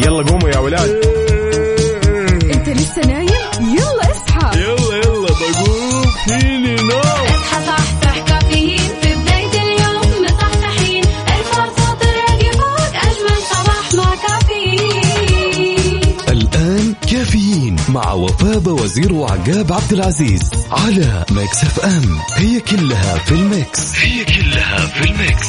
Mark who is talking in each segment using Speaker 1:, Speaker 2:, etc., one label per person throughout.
Speaker 1: يلا قوموا يا ولاد
Speaker 2: انت لسه نايم يلا اصحى
Speaker 1: يلا يلا بقوم فيني نوم
Speaker 3: اصحى صحصح كافيين في بداية اليوم مصحصحين ارفع صوت الراديو فوق أجمل صباح مع كافيين
Speaker 4: الآن كافيين مع وفاء بوزير وعقاب عبد العزيز على ميكس اف ام هي كلها في الميكس هي كلها في الميكس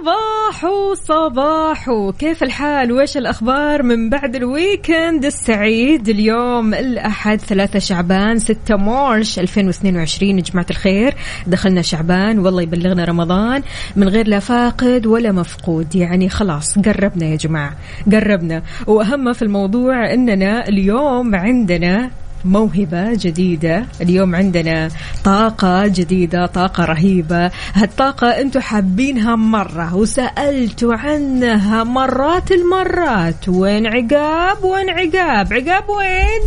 Speaker 2: صباح صباح كيف الحال وش الأخبار من بعد الويكند السعيد اليوم الأحد ثلاثة شعبان ستة مارش 2022 يا جماعة الخير دخلنا شعبان والله يبلغنا رمضان من غير لا فاقد ولا مفقود يعني خلاص قربنا يا جماعة قربنا وأهم في الموضوع أننا اليوم عندنا موهبة جديدة اليوم عندنا طاقة جديدة طاقة رهيبة هالطاقة انتم حابينها مرة وسألتوا عنها مرات المرات وين عقاب وين عقاب عقاب وين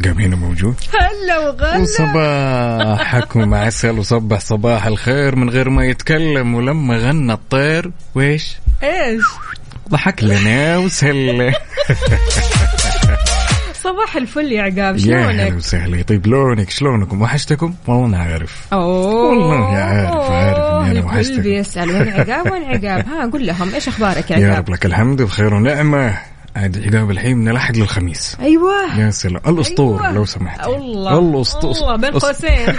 Speaker 1: عقاب هنا موجود
Speaker 2: هلا وغلا
Speaker 1: وصباحكم عسل وصبح صباح الخير من غير ما يتكلم ولما غنى الطير ويش
Speaker 2: ايش
Speaker 1: ضحك لنا وسلة
Speaker 2: صباح الفل يا عقاب
Speaker 1: يا هلا
Speaker 2: شلونك
Speaker 1: وسهلا يطيب لونك شلونكم وحشتكم والله أنا عارف
Speaker 2: اوه
Speaker 1: والله عارف- عارف إني أنا
Speaker 2: الكل
Speaker 1: وحشتك.
Speaker 2: بيسأل وين عقاب وين عقاب ها قول لهم ايش اخبارك يا
Speaker 1: يا رب
Speaker 2: عقاب
Speaker 1: لك الحمد بخير ونعمة عاد عقاب الحين نلحق للخميس
Speaker 2: ايوه
Speaker 1: يا سلام الاسطور
Speaker 2: أيوة.
Speaker 1: أيوة. لو سمحت
Speaker 2: الله
Speaker 1: الاسطور
Speaker 2: الله بين قوسين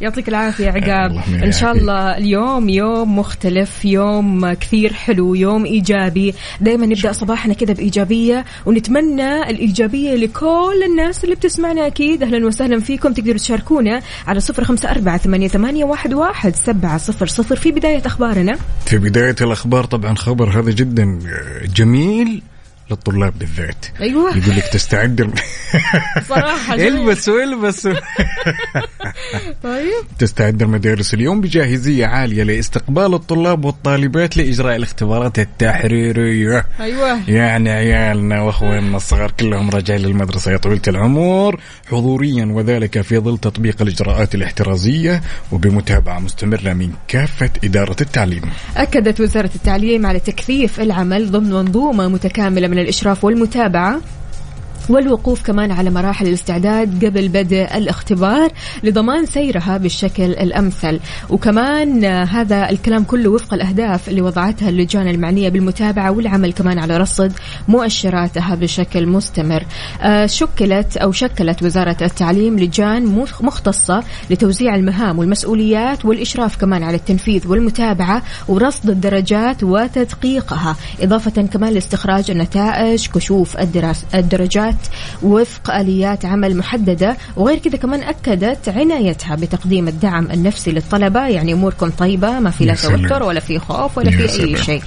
Speaker 2: يعطيك العافيه عقاب
Speaker 1: اللهم
Speaker 2: ان شاء
Speaker 1: يعافيك.
Speaker 2: الله اليوم يوم مختلف يوم كثير حلو يوم ايجابي دائما نبدا صباحنا كذا بايجابيه ونتمنى الايجابيه لكل الناس اللي بتسمعنا اكيد اهلا وسهلا فيكم تقدروا تشاركونا على صفر خمسه اربعه ثمانيه ثمانيه واحد واحد سبعه صفر صفر في بدايه اخبارنا
Speaker 1: في بداية الأخبار طبعا خبر هذا جدا جميل للطلاب بالذات
Speaker 2: أيوة.
Speaker 1: يقول إيه لك تستعد ال-
Speaker 2: صراحه جميل.
Speaker 1: البس والبس
Speaker 2: طيب
Speaker 1: تستعد المدارس اليوم بجاهزية عالية لاستقبال الطلاب والطالبات لإجراء الاختبارات التحريرية
Speaker 2: ايوه
Speaker 1: يعني عيالنا واخواننا الصغار كلهم راجعين للمدرسه يا طويله العمر حضوريا وذلك في ظل تطبيق الاجراءات الاحترازيه وبمتابعه مستمره من كافه اداره التعليم.
Speaker 2: أكدت وزارة التعليم على تكثيف العمل ضمن منظومة متكاملة من الإشراف والمتابعة والوقوف كمان على مراحل الاستعداد قبل بدء الاختبار لضمان سيرها بالشكل الامثل، وكمان آه، هذا الكلام كله وفق الاهداف اللي وضعتها اللجان المعنيه بالمتابعه والعمل كمان على رصد مؤشراتها بشكل مستمر. آه، شكلت او شكلت وزاره التعليم لجان مخ- مختصه لتوزيع المهام والمسؤوليات والاشراف كمان على التنفيذ والمتابعه ورصد الدرجات وتدقيقها، اضافه كمان لاستخراج النتائج، كشوف الدراس الدرجات وفق اليات عمل محدده، وغير كذا كمان اكدت عنايتها بتقديم الدعم النفسي للطلبه، يعني اموركم طيبه، ما في لا
Speaker 1: يا سلام.
Speaker 2: توتر ولا في خوف ولا
Speaker 1: يا
Speaker 2: في اي
Speaker 1: سلام.
Speaker 2: شيء.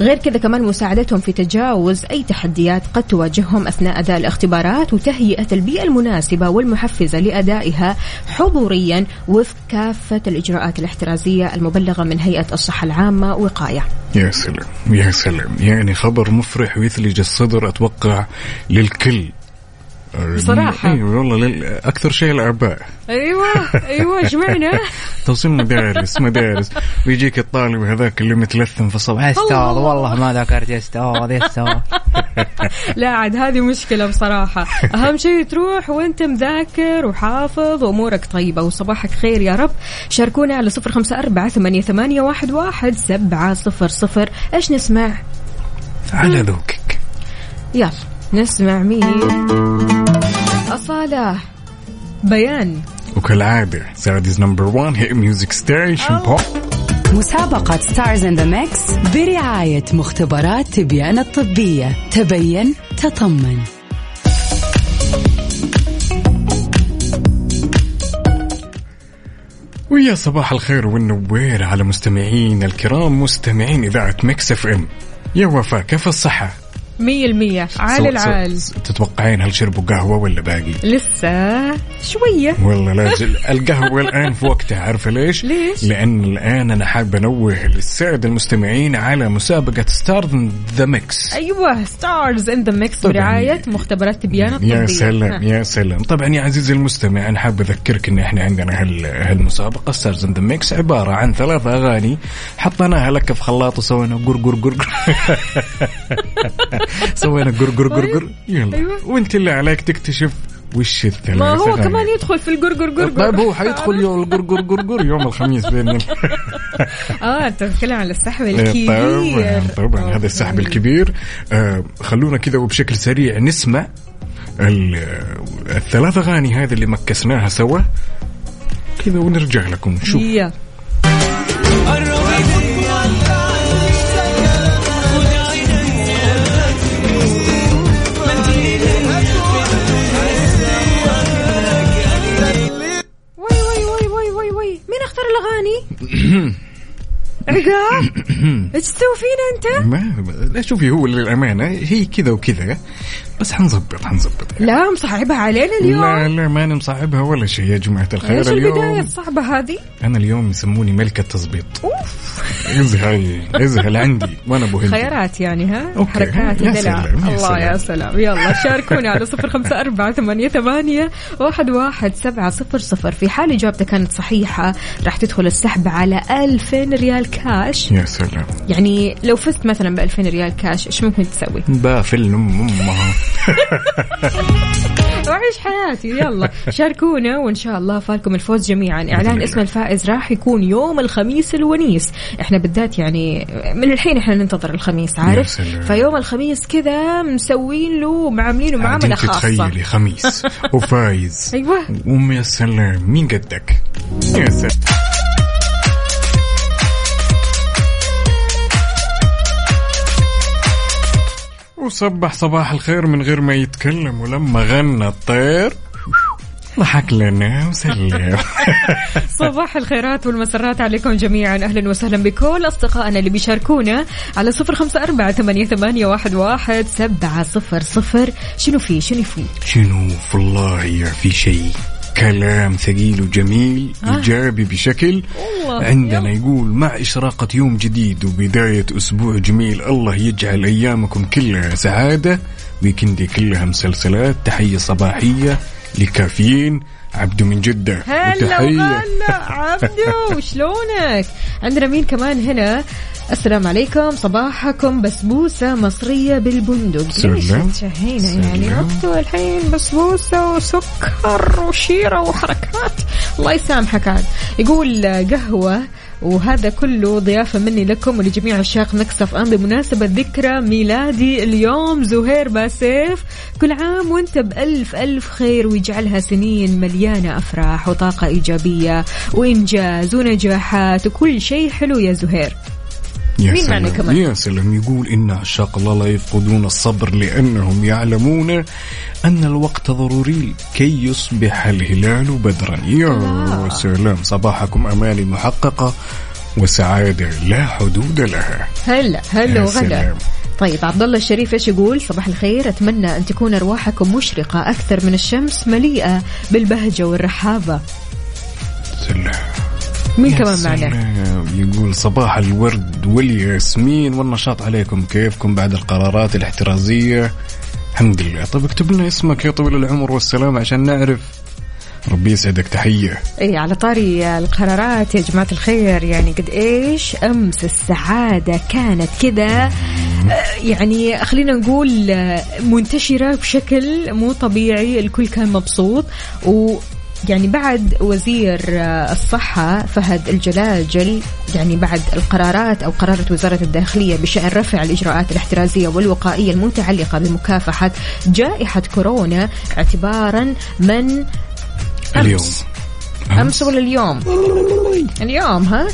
Speaker 2: غير كذا كمان مساعدتهم في تجاوز أي تحديات قد تواجههم أثناء أداء الاختبارات وتهيئة البيئة المناسبة والمحفزة لأدائها حضوريا وفق كافة الإجراءات الاحترازية المبلغة من هيئة الصحة العامة وقاية
Speaker 1: يا سلام يا سلام يعني خبر مفرح ويثلج الصدر اتوقع للكل.
Speaker 2: بصراحة.
Speaker 1: اي والله لل... اكثر شيء الاباء
Speaker 2: أيوة أيوة جمعنا
Speaker 1: توصيل مدارس مدارس ويجيك الطالب هذاك اللي متلثم في الصبح
Speaker 2: الله.
Speaker 5: استاذ والله ما ذكرت استاذ استاذ
Speaker 2: لا عاد هذه مشكلة بصراحة أهم شيء تروح وأنت مذاكر وحافظ وأمورك طيبة وصباحك خير يا رب شاركونا على صفر خمسة أربعة ثمانية, ثمانية واحد, واحد سبعة صفر صفر إيش نسمع
Speaker 1: على ذوقك.
Speaker 2: يلا نسمع مين أصالة بيان
Speaker 1: وكالعادة سعوديز نمبر 1 هي ميوزك ستيشن بوب
Speaker 6: مسابقة ستارز ان ذا ميكس برعاية مختبرات تبيان الطبية تبين تطمن
Speaker 1: ويا صباح الخير والنوير على مستمعين الكرام مستمعين إذاعة مكس اف ام يا وفاء كيف الصحة؟
Speaker 2: مية المية على
Speaker 1: سو-
Speaker 2: العال
Speaker 1: سو- تتوقعين هل شربوا قهوه ولا باقي؟
Speaker 2: لسه شوية
Speaker 1: والله لازل القهوة الآن في وقتها عارفة ليش؟
Speaker 2: ليش؟
Speaker 1: لأن الآن أنا حاب أنوه للسعد المستمعين على مسابقة ستار ذا ميكس
Speaker 2: أيوة ستارز إن ذا ميكس
Speaker 1: طبعاً.
Speaker 2: برعاية مختبرات تبيان الطبية
Speaker 1: يا سلام
Speaker 2: ها.
Speaker 1: يا سلام طبعا يا عزيزي المستمع انا حاب اذكرك ان احنا عندنا هال- هالمسابقه ستارز ان ذا ميكس عباره عن ثلاث اغاني حطيناها لك في خلاط وسوينا قرقر قرقر سوينا قرقر قرقر يلا
Speaker 2: أيوة.
Speaker 1: وانت اللي عليك تكتشف وش الثلاث
Speaker 2: ما هو
Speaker 1: أغاني.
Speaker 2: كمان يدخل في القرقر قرقر
Speaker 1: طيب هو حيدخل يوم القرقر قرقر يوم الخميس باذن الله
Speaker 2: اه انت بتتكلم على السحب الكبير
Speaker 1: طبعا طبعا إيه، هذا السحب الكبير آه خلونا كذا وبشكل سريع نسمع ال- الثلاث اغاني هذه اللي مكسناها سوا كذا ونرجع لكم نشوف
Speaker 2: يا. وي وي وي وي وي وي مين اختار الاغاني؟ رقا ايش تسوي فينا انت؟
Speaker 1: ما ما- لا شوفي هو للامانه هي كذا وكذا بس حنظبط حنظبط يعني.
Speaker 2: لا مصعبها علينا
Speaker 1: لا
Speaker 2: اليوم
Speaker 1: لا ماني مصعبها ولا شيء يا جماعه الخير
Speaker 2: ايش البداية
Speaker 1: اليوم
Speaker 2: الصعبة هذه؟
Speaker 1: انا اليوم يسموني ملكه تزبيط
Speaker 2: اوف
Speaker 1: ازهل ازهل عندي وانا ابو هندي
Speaker 2: خيارات يعني ها
Speaker 1: أوكي.
Speaker 2: حركات
Speaker 1: يا
Speaker 2: ودلع
Speaker 1: سلام، يا
Speaker 2: الله يا
Speaker 1: سلام.
Speaker 2: سلام يلا شاركونا على صفر خمسة أربعة ثمانية, ثمانية واحد, واحد سبعة صفر صفر في حال إجابتك كانت صحيحة راح تدخل السحب على ألفين ريال كاش
Speaker 1: يا سلام
Speaker 2: يعني لو فزت مثلا بألفين ريال كاش إيش ممكن تسوي
Speaker 1: بافل امها
Speaker 2: وعيش حياتي يلا شاركونا وان شاء الله فالكم الفوز جميعا اعلان اسم الفائز راح يكون يوم الخميس الونيس احنا بالذات يعني من الحين احنا ننتظر الخميس
Speaker 1: يا
Speaker 2: عارف
Speaker 1: سلام.
Speaker 2: فيوم الخميس كذا مسوين له ومعاملينه معامله
Speaker 1: عاد انت
Speaker 2: خاصه
Speaker 1: تخيلي خميس وفايز
Speaker 2: ايوه
Speaker 1: أم يا سلام مين قدك؟ يا سلام وصبح صباح الخير من غير ما يتكلم ولما غنى الطير ضحك لنا وسلم
Speaker 2: صباح الخيرات والمسرات عليكم جميعا اهلا وسهلا بكل اصدقائنا اللي بيشاركونا على صفر خمسه اربعه ثمانيه, ثمانية واحد, واحد سبعه صفر صفر شنو في شنو في
Speaker 1: شنو في الله يا في شيء كلام ثقيل وجميل ايجابي بشكل
Speaker 2: آه. والله،
Speaker 1: عندنا
Speaker 2: يلا.
Speaker 1: يقول مع اشراقه يوم جديد وبدايه اسبوع جميل الله يجعل ايامكم كلها سعاده ويكندي كلها مسلسلات تحيه صباحيه لكافيين عبده من جده
Speaker 2: هلا وغلا عبدو شلونك عندنا مين كمان هنا السلام عليكم صباحكم بسبوسة مصرية بالبندق
Speaker 1: سلام.
Speaker 2: ليش تشهينا يعني
Speaker 1: سلام.
Speaker 2: وقته الحين بسبوسة وسكر وشيرة وحركات الله يسامحك عاد يقول قهوة وهذا كله ضيافة مني لكم ولجميع عشاق مكسف أم بمناسبة ذكرى ميلادي اليوم زهير باسيف كل عام وانت بألف ألف خير ويجعلها سنين مليانة أفراح وطاقة إيجابية وإنجاز ونجاحات وكل شيء حلو يا زهير
Speaker 1: يا
Speaker 2: مين معنا
Speaker 1: سلام.
Speaker 2: كمان؟
Speaker 1: يا سلام يقول إن عشاق الله لا يفقدون الصبر لأنهم يعلمون أن الوقت ضروري كي يصبح الهلال بدرا يا سلام صباحكم أماني محققة وسعادة لا حدود لها
Speaker 2: هلا هلا
Speaker 1: يا
Speaker 2: وغلا
Speaker 1: سلام.
Speaker 2: طيب عبد الله الشريف ايش يقول؟ صباح الخير، اتمنى ان تكون ارواحكم مشرقه اكثر من الشمس مليئه بالبهجه والرحابه.
Speaker 1: سلام
Speaker 2: مين
Speaker 1: يا
Speaker 2: كمان معنا؟
Speaker 1: سلام. يقول صباح الورد والياسمين والنشاط عليكم كيفكم بعد القرارات الاحترازية الحمد لله طب اكتب لنا اسمك يا طويل العمر والسلام عشان نعرف ربي يسعدك تحية
Speaker 2: اي إيه، على طاري القرارات يا جماعه الخير يعني قد ايش امس السعاده كانت كذا آه، يعني خلينا نقول آه، منتشره بشكل مو طبيعي الكل كان مبسوط و يعني بعد وزير آه، الصحة فهد الجلاجل يعني بعد القرارات أو قرارة وزارة الداخلية بشأن رفع الإجراءات الاحترازية والوقائية المتعلقة بمكافحة جائحة كورونا اعتبارا من
Speaker 1: اليوم
Speaker 2: أمس. امس ولا اليوم؟ اليوم ها؟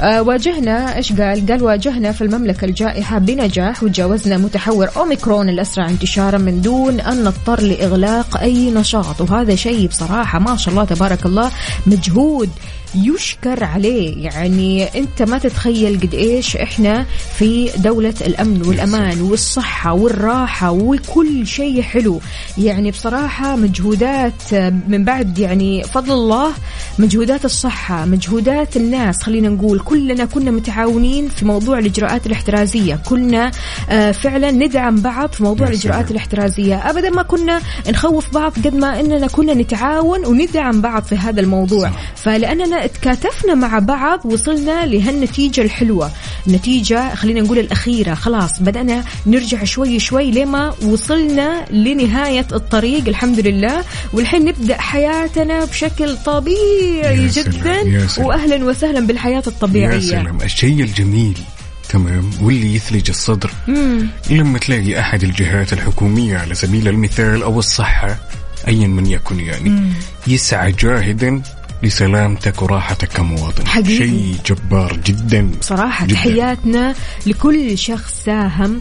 Speaker 2: آه، واجهنا ايش قال؟ قال واجهنا في المملكه الجائحه بنجاح وتجاوزنا متحور اوميكرون الاسرع انتشارا من دون ان نضطر لاغلاق اي نشاط وهذا شيء بصراحه ما شاء الله تبارك الله مجهود يشكر عليه يعني انت ما تتخيل قد ايش احنا في دولة الامن والامان والصحة والراحة وكل شيء حلو يعني بصراحة مجهودات آه، من بعد يعني فضل الله مجهودات الصحة مجهودات الناس خلينا نقول كلنا كنا متعاونين في موضوع الاجراءات الاحترازية كنا آه، فعلا ندعم بعض في موضوع
Speaker 1: يا
Speaker 2: الاجراءات
Speaker 1: سلام.
Speaker 2: الاحترازية ابدا ما كنا نخوف بعض قد ما اننا كنا نتعاون وندعم بعض في هذا الموضوع
Speaker 1: صح.
Speaker 2: فلاننا تكاتفنا مع بعض وصلنا لهالنتيجه الحلوه نتيجه خلينا نقول الاخيره خلاص بدانا نرجع شوي شوي لما وصلنا لنهايه الطريق الحمد لله والحين نبدا حياتنا بشكل طبيعي
Speaker 1: يا سلام،
Speaker 2: جدا
Speaker 1: يا سلام.
Speaker 2: واهلا وسهلا بالحياه
Speaker 1: يا
Speaker 2: الطبيعيه
Speaker 1: سلام الشيء الجميل تمام واللي يثلج الصدر
Speaker 2: مم.
Speaker 1: لما تلاقي احد الجهات الحكوميه على سبيل المثال او الصحه ايا من يكن يعني يسعى جاهدا لسلامتك وراحتك كمواطن
Speaker 2: حقيقي.
Speaker 1: شيء جبار جدا
Speaker 2: بصراحة
Speaker 1: جداً.
Speaker 2: تحياتنا لكل شخص ساهم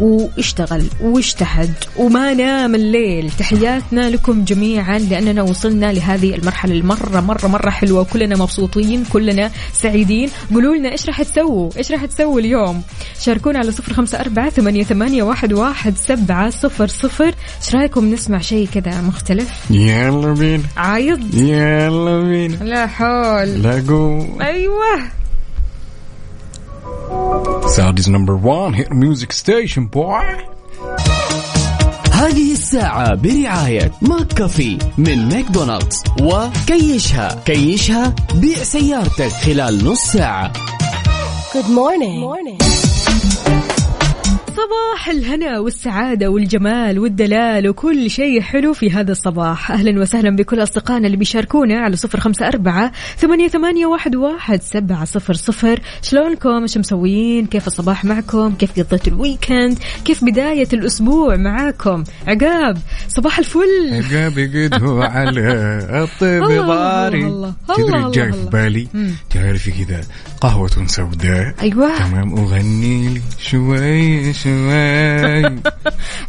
Speaker 2: واشتغل واجتهد وما نام الليل تحياتنا لكم جميعا لأننا وصلنا لهذه المرحلة المرة مرة مرة حلوة وكلنا مبسوطين كلنا سعيدين قولوا لنا إيش راح تسووا إيش راح تسووا اليوم شاركونا على صفر خمسة أربعة ثمانية, ثمانية واحد, واحد سبعة صفر صفر إيش رايكم نسمع شيء كذا مختلف
Speaker 1: يلا بينا
Speaker 2: عايض
Speaker 1: يلا بينا
Speaker 2: لا حول
Speaker 1: لا جو
Speaker 2: أيوه
Speaker 1: Saudi's number one hit music station boy
Speaker 7: هذه الساعة برعاية ماك كافي من ماكدونالدز وكيشها كيشها بيع سيارتك خلال نص ساعة
Speaker 2: صباح الهنا والسعادة والجمال والدلال وكل شيء حلو في هذا الصباح أهلا وسهلا بكل أصدقائنا اللي بيشاركونا على صفر خمسة أربعة ثمانية, ثمانية واحد, واحد سبعة صفر صفر شلونكم إيش مسويين كيف الصباح معكم كيف قضيتوا الويكند كيف بداية الأسبوع معاكم عقاب صباح الفل
Speaker 1: عقابي قد هو على الطيب
Speaker 2: الله
Speaker 1: ضاري
Speaker 2: الله الله
Speaker 1: تدري
Speaker 2: الله
Speaker 1: جاي في
Speaker 2: الله.
Speaker 1: بالي
Speaker 2: مم.
Speaker 1: تعرفي كذا قهوة سوداء
Speaker 2: أيوة.
Speaker 1: تمام وغني لي شوي شوي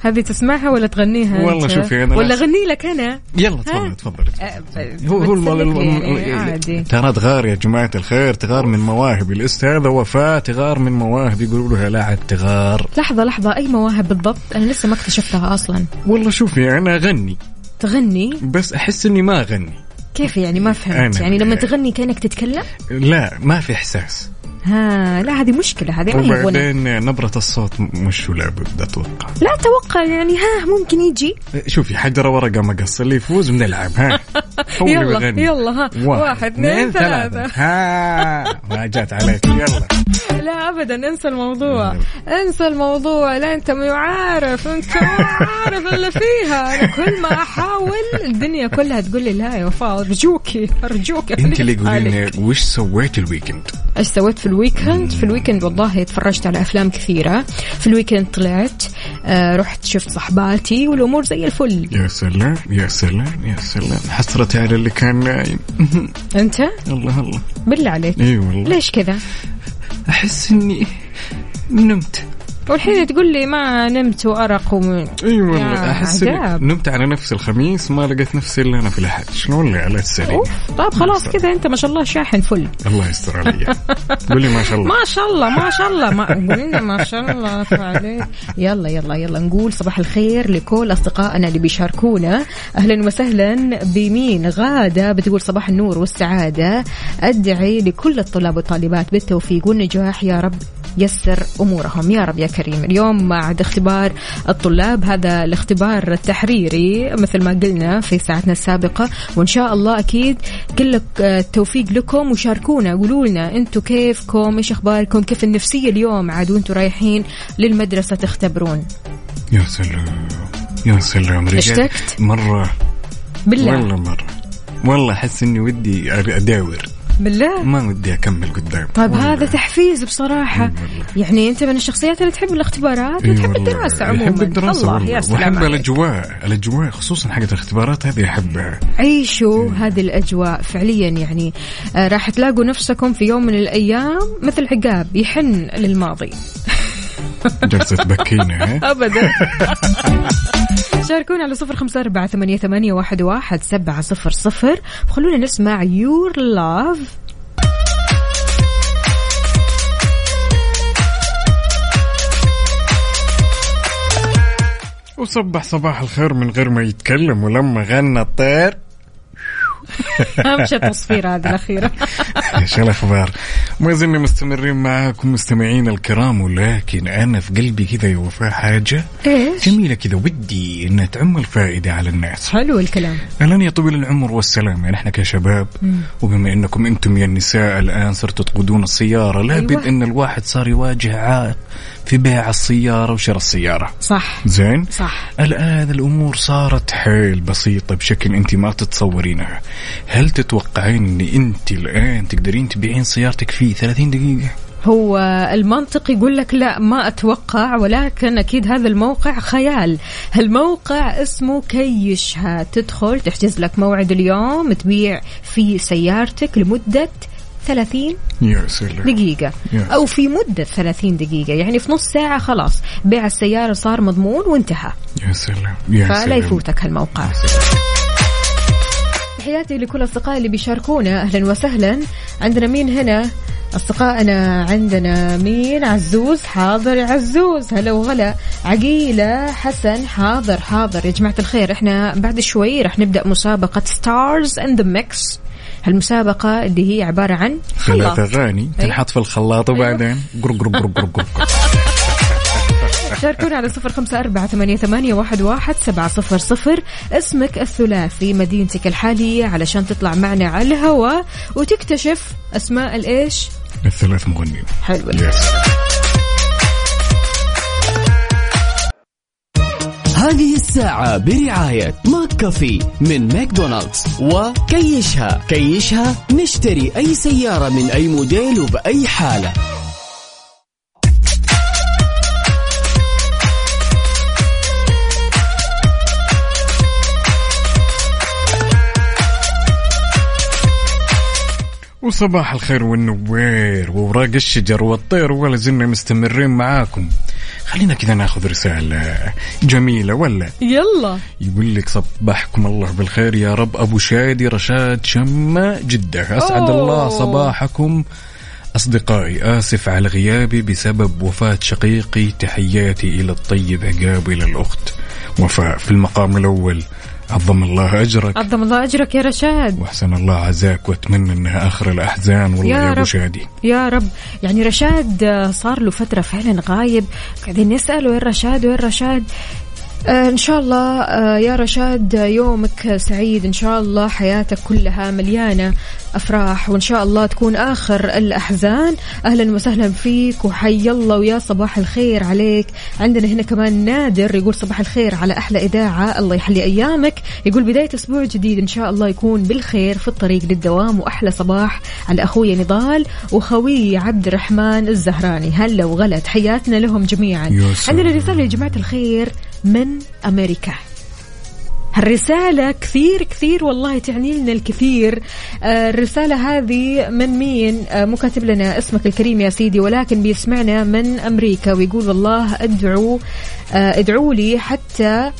Speaker 2: هذه تسمعها ولا تغنيها أنت؟
Speaker 1: والله شوفي أنا
Speaker 2: ولا
Speaker 1: ناس-
Speaker 2: أغني لك أنا
Speaker 1: يلا
Speaker 2: ها؟
Speaker 1: تفضل تفضل
Speaker 2: أه،
Speaker 1: هو هو
Speaker 2: بتسلك
Speaker 1: المال الم... إيه،
Speaker 2: يعني، عادي.
Speaker 1: ترى تغار يا جماعة الخير تغار من مواهب الاست هذا وفاة تغار من مواهب يقولوا لها لا عاد تغار
Speaker 2: لحظة لحظة أي مواهب بالضبط أنا لسه ما اكتشفتها أصلا
Speaker 1: والله شوفي أنا أغني
Speaker 2: تغني
Speaker 1: بس أحس إني ما أغني
Speaker 2: كيف يعني ما فهمت
Speaker 1: أنا-
Speaker 2: يعني لما تغني كانك تتكلم
Speaker 1: لا ما في إحساس
Speaker 2: ها لا هذه مشكلة هذه ما هي غنى.
Speaker 1: وبعدين نبرة الصوت م- مش لابد أتوقع
Speaker 2: لا أتوقع يعني ها ممكن يجي
Speaker 1: شوفي حجرة ورقة مقص اللي يفوز بنلعب ها هو اللي
Speaker 2: يلا-
Speaker 1: بيغني.
Speaker 2: يلا، ها. واحد، اثنين، ثلاثة.
Speaker 1: ها ما جات عليك يلا
Speaker 2: لا أبدا انسى الموضوع
Speaker 1: نعم.
Speaker 2: انسى الموضوع لا أنت ما عارف أنت ما عارف اللي فيها أنا كل ما أحاول الدنيا كلها تقول لي لا يا وفاء أرجوكي أرجوكي
Speaker 1: انت اللي قولي
Speaker 2: عليك.
Speaker 1: لنا وش سويت الويكند؟
Speaker 2: ايش سويت في الويكند؟ في الويكند والله تفرجت على افلام كثيره، في الويكند طلعت آه رحت شفت صحباتي والامور زي الفل،
Speaker 1: يا سلام يا سلام يا سلام حسرتي على اللي كان نايم
Speaker 2: انت؟
Speaker 1: الله الله
Speaker 2: بالله عليك
Speaker 1: اي والله
Speaker 2: ليش كذا؟
Speaker 1: احس اني نمت
Speaker 2: والحين تقول لي ما نمت وارق وم...
Speaker 1: اي
Speaker 2: يا
Speaker 1: والله احس اني
Speaker 2: عجاب.
Speaker 1: نمت على نفس الخميس ما لقيت نفسي الا انا في الاحد شلون اللي على السرير
Speaker 2: اوف طب طيب خلاص كذا انت ما شاء الله شاحن فل
Speaker 1: الله يستر علي قولي ما شاء الله
Speaker 2: ما شاء الله ما شاء الله ما قلنا ما شاء الله أكبر عليك يلا يلا يلا نقول صباح الخير لكل اصدقائنا اللي بيشاركونا اهلا وسهلا بمين غاده بتقول صباح النور والسعاده ادعي لكل الطلاب والطالبات بالتوفيق والنجاح يا رب يسر امورهم يا رب يا كريم اليوم بعد اختبار الطلاب هذا الاختبار التحريري مثل ما قلنا في ساعتنا السابقه وان شاء الله اكيد كل التوفيق لكم وشاركونا قولوا لنا انتم كيفكم ايش اخباركم كيف النفسيه اليوم عاد وانتم رايحين للمدرسه تختبرون
Speaker 1: يا سلام يا سلام رجال
Speaker 2: اشتقت؟
Speaker 1: مره
Speaker 2: بالله
Speaker 1: والله مره والله احس اني ودي اداور
Speaker 2: بالله
Speaker 1: ما ودي اكمل قدام
Speaker 2: طيب
Speaker 1: والله.
Speaker 2: هذا تحفيز بصراحة
Speaker 1: والله.
Speaker 2: يعني أنت من الشخصيات اللي تحب الاختبارات
Speaker 1: إي
Speaker 2: وتحب
Speaker 1: والله.
Speaker 2: الدراسة عموما
Speaker 1: احب الدراسه
Speaker 2: الله
Speaker 1: والله.
Speaker 2: يا سلام
Speaker 1: واحب
Speaker 2: عليك.
Speaker 1: الاجواء الاجواء خصوصا حقت الاختبارات هذه احبها
Speaker 2: عيشوا هذه الأجواء فعليا يعني آه، راح تلاقوا نفسكم في يوم من الأيام مثل عقاب يحن للماضي
Speaker 1: جلسه بكينا ها
Speaker 2: أبدا شاركونا على صفر خمسة أربعة ثمانية, ثمانية واحد, واحد سبعة صفر صفر خلونا نسمع يور لاف
Speaker 1: وصبح صباح الخير من غير ما يتكلم ولما غنى الطير
Speaker 2: أمشى التصفيرة هذه الأخيرة
Speaker 1: ايش الاخبار؟ ما زلنا مستمرين معاكم مستمعين الكرام ولكن انا في قلبي كذا يا وفاء حاجه
Speaker 2: إيش؟
Speaker 1: جميله كذا ودي انها تعمل فائده على الناس.
Speaker 2: حلو الكلام
Speaker 1: الان يا طويل العمر والسلام يعني احنا كشباب وبما انكم انتم يا النساء الان صرتوا تقودون السياره لابد
Speaker 2: أيوة.
Speaker 1: ان الواحد صار يواجه عائق في بيع السياره وشراء السياره.
Speaker 2: صح
Speaker 1: زين؟
Speaker 2: صح
Speaker 1: الآن الأمور صارت حيل بسيطة بشكل أنت ما تتصورينها هل تتوقعين أن أنت الآن تقدرين تبيعين سيارتك في 30 دقيقة؟
Speaker 2: هو المنطق يقول لك لا ما اتوقع ولكن اكيد هذا الموقع خيال الموقع اسمه كيشها تدخل تحجز لك موعد اليوم تبيع فيه سيارتك لمدة 30
Speaker 1: يا سلام
Speaker 2: دقيقة
Speaker 1: Yes.
Speaker 2: أو في مدة 30 دقيقة يعني في نص ساعة خلاص بيع السيارة صار مضمون وانتهى
Speaker 1: يا سلام يا
Speaker 2: فلا
Speaker 1: سلام.
Speaker 2: يفوتك هالموقع تحياتي لكل أصدقائي اللي بيشاركونا أهلا وسهلا عندنا مين هنا أصدقائنا عندنا مين عزوز حاضر يا عزوز هلا وغلا عقيلة حسن حاضر حاضر يا جماعة الخير احنا بعد شوي رح نبدأ مسابقة ستارز ان ذا ميكس هالمسابقة اللي هي عبارة عن
Speaker 1: ثلاث
Speaker 2: خلاط
Speaker 1: أغاني تنحط في الخلاط وبعدين قرق قرق قرق قرق
Speaker 2: شاركونا على صفر خمسة أربعة ثمانية, ثمانية واحد, واحد سبعة صفر صفر اسمك الثلاثي مدينتك الحالية علشان تطلع معنا على الهواء وتكتشف أسماء الإيش
Speaker 1: الثلاث مغنيين
Speaker 2: حلوة
Speaker 1: يس
Speaker 7: هذه الساعة برعاية ماك كافي من ماكدونالدز وكيشها كيشها نشتري أي سيارة من أي موديل وبأي حالة
Speaker 1: وصباح الخير والنوير ووراق الشجر والطير ولا زلنا مستمرين معاكم خلينا كذا ناخذ رسالة جميلة ولا
Speaker 2: يلا
Speaker 1: يقول لك صبحكم الله بالخير يا رب ابو شادي رشاد شمة جدة اسعد
Speaker 2: أوه.
Speaker 1: الله صباحكم اصدقائي اسف على غيابي بسبب وفاة شقيقي تحياتي الى الطيب عقاب الى الاخت وفاء في المقام الاول عظم الله اجرك
Speaker 2: عظم الله أجرك يا رشاد
Speaker 1: واحسن الله عزاك واتمنى انها اخر الاحزان والله
Speaker 2: يا
Speaker 1: يا, ابو
Speaker 2: رب.
Speaker 1: شادي
Speaker 2: يا رب يعني رشاد آه، صار له فترة فعلا غايب قاعدين نسأله وين رشاد وين رشاد آه، إن شاء الله آه، يا رشاد آه، يومك سعيد إن شاء الله حياتك كلها مليانة أفراح وإن شاء الله تكون آخر الأحزان أهلا وسهلا فيك وحي الله ويا صباح الخير عليك عندنا هنا كمان نادر يقول صباح الخير على أحلى إذاعة الله يحلي أيامك يقول بداية أسبوع جديد إن شاء الله يكون بالخير في الطريق للدوام وأحلى صباح على أخوي نضال وخوي عبد الرحمن الزهراني هلا وغلا تحياتنا لهم جميعا
Speaker 1: يا سلام.
Speaker 2: عندنا رسالة يا جماعة الخير من أمريكا الرسالة كثير كثير والله تعني لنا الكثير آه، الرسالة هذه من مين آه، مو كاتب لنا اسمك الكريم يا سيدي ولكن بيسمعنا من أمريكا ويقول والله أدعو آه، ادعوا لي حتى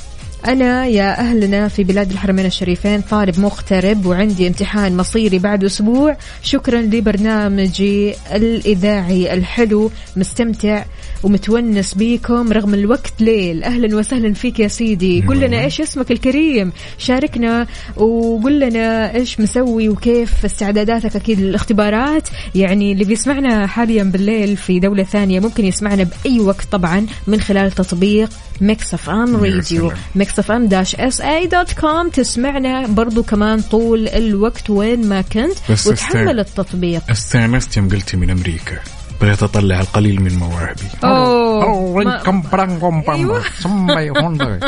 Speaker 2: أنا يا أهلنا في بلاد الحرمين الشريفين طالب مغترب وعندي امتحان مصيري بعد أسبوع شكرا لبرنامجي الإذاعي الحلو مستمتع ومتونس بيكم رغم الوقت ليل أهلا وسهلا فيك يا سيدي قل لنا إيش اسمك الكريم شاركنا وقل لنا إيش مسوي وكيف استعداداتك أكيد للاختبارات يعني اللي بيسمعنا حاليا بالليل في دولة ثانية ممكن يسمعنا بأي وقت طبعا من خلال تطبيق ميكس اف ام
Speaker 1: يا
Speaker 2: راديو
Speaker 1: سلام.
Speaker 2: ميكس اف ام داش اس اي دوت كوم تسمعنا برضو كمان طول الوقت وين ما كنت
Speaker 1: بس
Speaker 2: وتحمل
Speaker 1: استنى.
Speaker 2: التطبيق
Speaker 1: استانست يوم قلتي من امريكا بدأت اطلع القليل من مواهبي
Speaker 2: أوه.
Speaker 1: أوه،
Speaker 2: ما-
Speaker 1: كم بران كم بران.
Speaker 2: أيوة.
Speaker 1: سمي هوندا.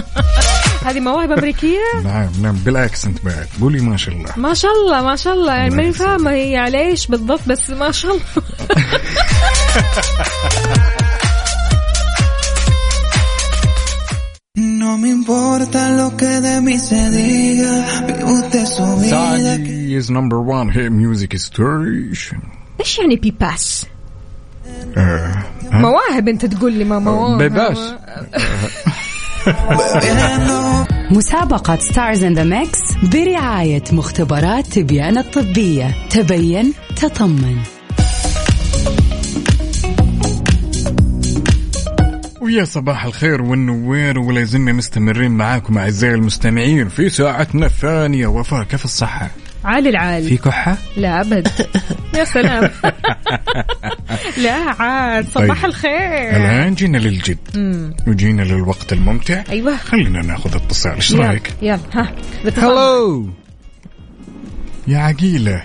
Speaker 2: هذه مواهب امريكيه
Speaker 1: نعم نعم بالاكسنت بعد قولي ما شاء الله
Speaker 2: ما شاء الله ما شاء الله يعني
Speaker 1: الله
Speaker 2: ماني
Speaker 1: يسعدك.
Speaker 2: فاهمه هي على ايش بالضبط بس ما شاء الله
Speaker 8: No me importa lo que de mí se diga, vive usted su vida.
Speaker 1: Saudi is number one hit music station.
Speaker 2: ايش يعني بيباس؟
Speaker 1: آه.
Speaker 2: مواهب انت تقول لي ما مواهب
Speaker 1: بيباس.
Speaker 8: bebiendo.
Speaker 6: مسابقة ستارز ان ذا ميكس برعاية مختبرات تبيان الطبية تبين تطمن
Speaker 1: ويا صباح الخير والنوير ولا يزلنا مستمرين معاكم اعزائي المستمعين في ساعتنا الثانيه وفاء كيف الصحه؟
Speaker 2: عالي العال
Speaker 1: في كحه؟
Speaker 2: لا ابد يا سلام لا عاد صباح
Speaker 1: طيب.
Speaker 2: الخير
Speaker 1: الان جينا للجد وجينا للوقت الممتع
Speaker 2: ايوه
Speaker 1: خلينا ناخذ اتصال ايش
Speaker 2: يلا،
Speaker 1: رايك؟
Speaker 2: يلا ها بتفضل.
Speaker 1: هلو يا عقيله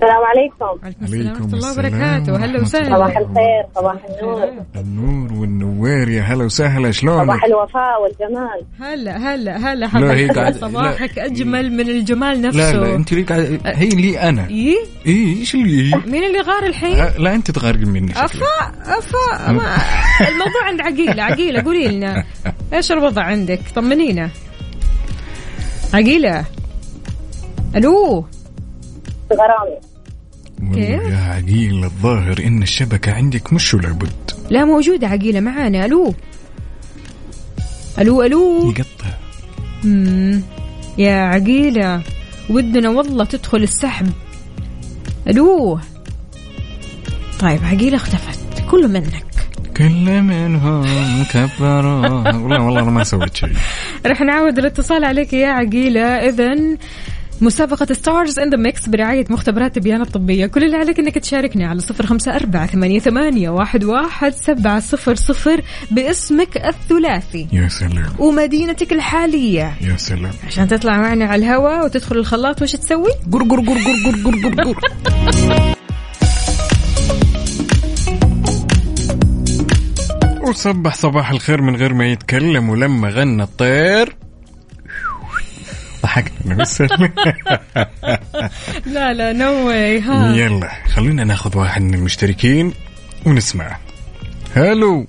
Speaker 9: السلام عليكم
Speaker 2: عليكم السلام
Speaker 1: عليكم
Speaker 2: ورحمه الله وبركاته
Speaker 1: السلام
Speaker 2: هلا
Speaker 1: ورحمة
Speaker 2: وسهلا
Speaker 1: الله.
Speaker 9: صباح الخير صباح النور
Speaker 1: النور والنوير يا هلا وسهلا شلونك؟
Speaker 9: صباح الوفاء والجمال
Speaker 2: هلا هلا هلا
Speaker 1: لا، هي قاعدة-
Speaker 2: حبيبي
Speaker 1: لا.
Speaker 2: صباحك اجمل من الجمال نفسه
Speaker 1: لا لا انت لي قاعد هي لي انا
Speaker 2: إيه؟
Speaker 1: ايه ايش اللي هي؟
Speaker 2: مين اللي غار الحين؟
Speaker 1: لا- لا انت تغرقين مني شكلك.
Speaker 2: افا افا ما الموضوع عند عقيله عقيله قولي لنا ايش الوضع عندك؟ طمنينا عقيله الو
Speaker 9: غرامي
Speaker 1: والله
Speaker 2: كيف؟
Speaker 1: يا عقيل الظاهر ان الشبكه عندك مش لابد
Speaker 2: لا موجوده عقيله معانا الو الو الو
Speaker 1: يقطع
Speaker 2: مم. يا عقيله ودنا والله تدخل السحب الو طيب عقيله اختفت كله منك
Speaker 1: كل منهم كبروا والله والله انا ما سويت شيء
Speaker 2: رح نعود الاتصال عليك يا عقيلة إذا مسابقة ستارز ان ذا ميكس برعاية مختبرات تبيان الطبية كل اللي عليك انك تشاركنا على صفر خمسة أربعة ثمانية, ثمانية واحد, واحد سبعة صفر صفر باسمك الثلاثي
Speaker 1: يا سلام
Speaker 2: ومدينتك الحالية
Speaker 1: يا سلام
Speaker 2: عشان تطلع معنا على الهواء وتدخل الخلاط وش تسوي؟
Speaker 1: قر قر قر قر قر قر قر قر وصبح صباح الخير من غير ما يتكلم ولما غنى الطير ضحكنا بس
Speaker 2: لا لا نو واي ها
Speaker 1: يلا خلونا ناخذ واحد من المشتركين ونسمعه هلو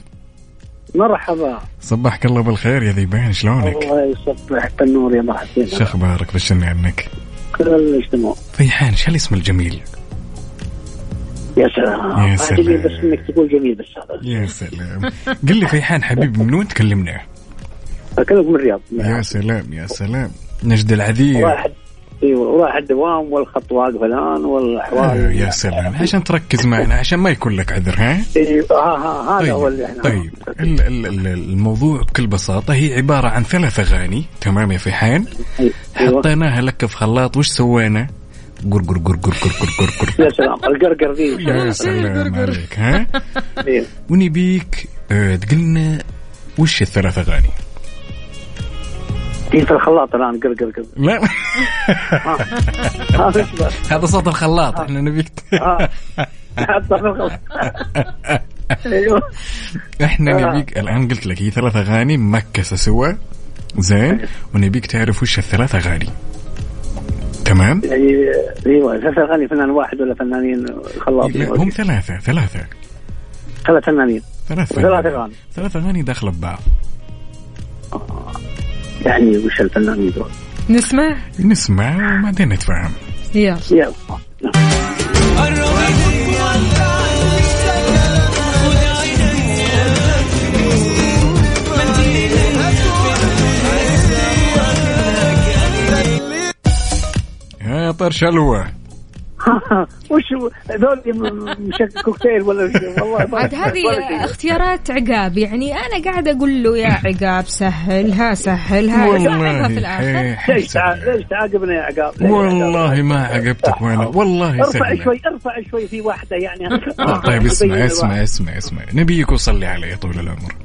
Speaker 10: مرحبا
Speaker 1: صبحك الله بالخير يا ذيبان شلونك؟
Speaker 10: الله يصبحك النور يا مرحبتين
Speaker 1: شو اخبارك بشرني عنك؟
Speaker 10: كل الاجتماع
Speaker 1: ريحان شو الاسم الجميل؟
Speaker 10: يا سلام
Speaker 1: يا
Speaker 10: عاجبني
Speaker 1: سلام.
Speaker 10: بس انك تقول جميل بس هذا
Speaker 1: يا سلام قل لي فيحان حبيبي من وين تكلمنا؟
Speaker 10: اكلمك من الرياض
Speaker 1: يا سلام يا سلام نجد العذية
Speaker 10: واحد ايوه وراح الدوام والخط واقف الان
Speaker 1: آه،
Speaker 10: والاحوال
Speaker 1: يا سلام عشان تركز معنا عشان ما يكون لك عذر ها؟
Speaker 10: إيوه، ها ها هذا هو اللي
Speaker 1: طيب,
Speaker 10: احنا
Speaker 1: طيب. ال- ال- ال- الموضوع بكل بساطة هي عبارة عن ثلاث أغاني تمام يا فيحان
Speaker 10: أيوة.
Speaker 1: حطيناها لك في خلاط وش سوينا؟ قر قر قر قر قر قر قر قر
Speaker 10: يا سلام القرقر ذي
Speaker 1: يا سلام عليك ها؟
Speaker 10: إيه.
Speaker 1: ونبيك آه، تقول لنا وش الثلاث أغاني؟
Speaker 10: هي في الخلاط الان قرقر قرقر
Speaker 1: لا
Speaker 10: ها ايش بس
Speaker 1: هذا صوت الخلاط احنا نبيك
Speaker 10: ها حطها في الخلاط ايوه
Speaker 1: احنا
Speaker 10: آه.
Speaker 1: نبيك الان قلت لك هي ثلاث اغاني مكسه سوا زين ونبيك تعرف وش الثلاث اغاني تمام
Speaker 10: يعني ايوه ثلاث اغاني فنان واحد ولا فنانين خلاط
Speaker 1: لا، هم ثلاثه ثلاثه
Speaker 10: ثلاث فنانين
Speaker 1: ثلاث
Speaker 10: ثلاث
Speaker 1: فنانين.
Speaker 10: أغاني.
Speaker 1: ثلاث اغاني داخله ببعض
Speaker 10: يعني وش الفنانين دول
Speaker 2: نسمع
Speaker 1: نسمع وبعدين نتفاهم
Speaker 2: يلا
Speaker 10: يلا
Speaker 1: يا طر شلوه
Speaker 10: وش هذول مشكل كوكتيل ولا وش- والله ما-
Speaker 2: عاد هذه اختيارات عقاب يعني انا قاعدة اقول له يا عقاب سهلها سهلها سهلها في الاخر
Speaker 1: والله
Speaker 10: ليش
Speaker 1: حيل
Speaker 10: تع-
Speaker 1: سهلة.
Speaker 10: ليش تعاقبنا يا عقاب؟ ليش
Speaker 1: والله ما عقبتك ولا والله
Speaker 10: ارفع
Speaker 1: سهلة.
Speaker 10: شوي ارفع شوي في واحده يعني
Speaker 1: آه، طيب اسمع
Speaker 10: يبين
Speaker 1: اسمع
Speaker 10: الواحد.
Speaker 1: اسمع اسمع نبيك وصلي عليه طول العمر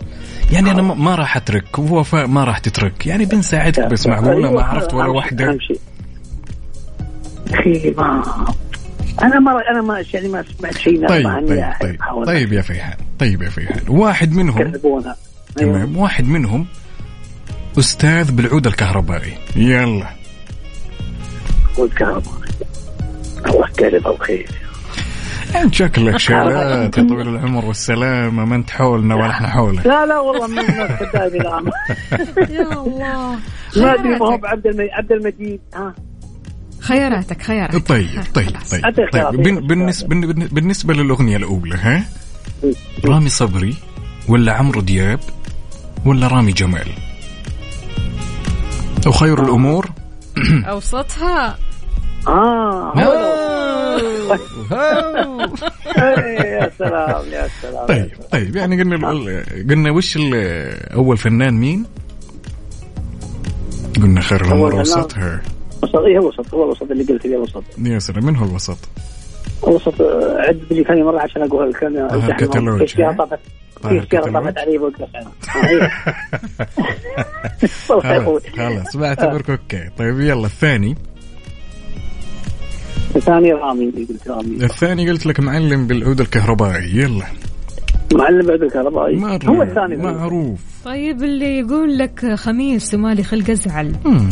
Speaker 1: يعني انا ما- ما راح اترك ووفاء ما راح تترك يعني بنساعدك بس معقوله ما
Speaker 10: أيوة،
Speaker 1: عرفت ولا
Speaker 10: أهم شيء-
Speaker 1: واحده
Speaker 10: أهم شيء. اخي ما انا ما انا ما يعني ما سمعت شيء
Speaker 1: طيب
Speaker 10: نافع عني
Speaker 1: طيب
Speaker 10: أحد
Speaker 1: طيب
Speaker 10: يحاول
Speaker 1: طيب يا فيحان طيب يا فيحان واحد منهم
Speaker 10: يكذبونها. أيوة.
Speaker 1: تمام واحد منهم استاذ بالعود الكهربائي يلا
Speaker 10: والكهرباء الله كرم الخير
Speaker 1: انت شكلك شيلات يا طويل العمر والسلامه ما انت حولنا ولا احنا حولك
Speaker 10: لا لا والله من الناس كذاب الان
Speaker 2: يا الله
Speaker 10: ما ادري ما هو بعبد المجيد عبد المجيد آه. ها
Speaker 2: خياراتك خياراتك
Speaker 1: طيب طيب طيب
Speaker 10: أعطيك
Speaker 1: طيب
Speaker 10: خيارات.
Speaker 1: بن- بالنسبه بالن- بالنسبه للاغنيه الاولى ها
Speaker 10: مم.
Speaker 1: رامي صبري ولا عمرو دياب ولا رامي جمال وخير الامور
Speaker 2: اوسطها
Speaker 10: اه إيه، يا سلام يا سلام
Speaker 1: آه. طيب طيب يعني قلنا ال- قلنا وش ال- اول فنان مين؟ قلنا خير الامور
Speaker 10: أول فنان.
Speaker 1: وسطها
Speaker 10: وسط ايه هو وسط هو وسط اللي قلت لي وسط
Speaker 1: يا سلام من هو الوسط؟
Speaker 10: وسط آه، عد لي كم مره عشان اقولها لك انا
Speaker 1: طاهر
Speaker 10: امتحن
Speaker 1: كتلوج،
Speaker 10: مرة. في
Speaker 1: ها؟
Speaker 10: سيارة طافت
Speaker 1: طاهر
Speaker 10: في سيارة
Speaker 1: كتلوج.
Speaker 10: طافت علي وقلت لك أنا. آه، إيه. والله يا
Speaker 1: خلاص
Speaker 10: أخوي.
Speaker 1: خلاص بعتبرك اوكي طيب يلا الثاني
Speaker 10: ثاني رامي اللي قلت رامي
Speaker 1: الثاني قلت لك معلم بالعود الكهربائي يلا
Speaker 10: معلم بعد الكهربائي
Speaker 1: مرة
Speaker 10: هو الثاني
Speaker 1: معروف
Speaker 2: طيب اللي يقول لك خميس ومالي خلق ازعل
Speaker 1: مم.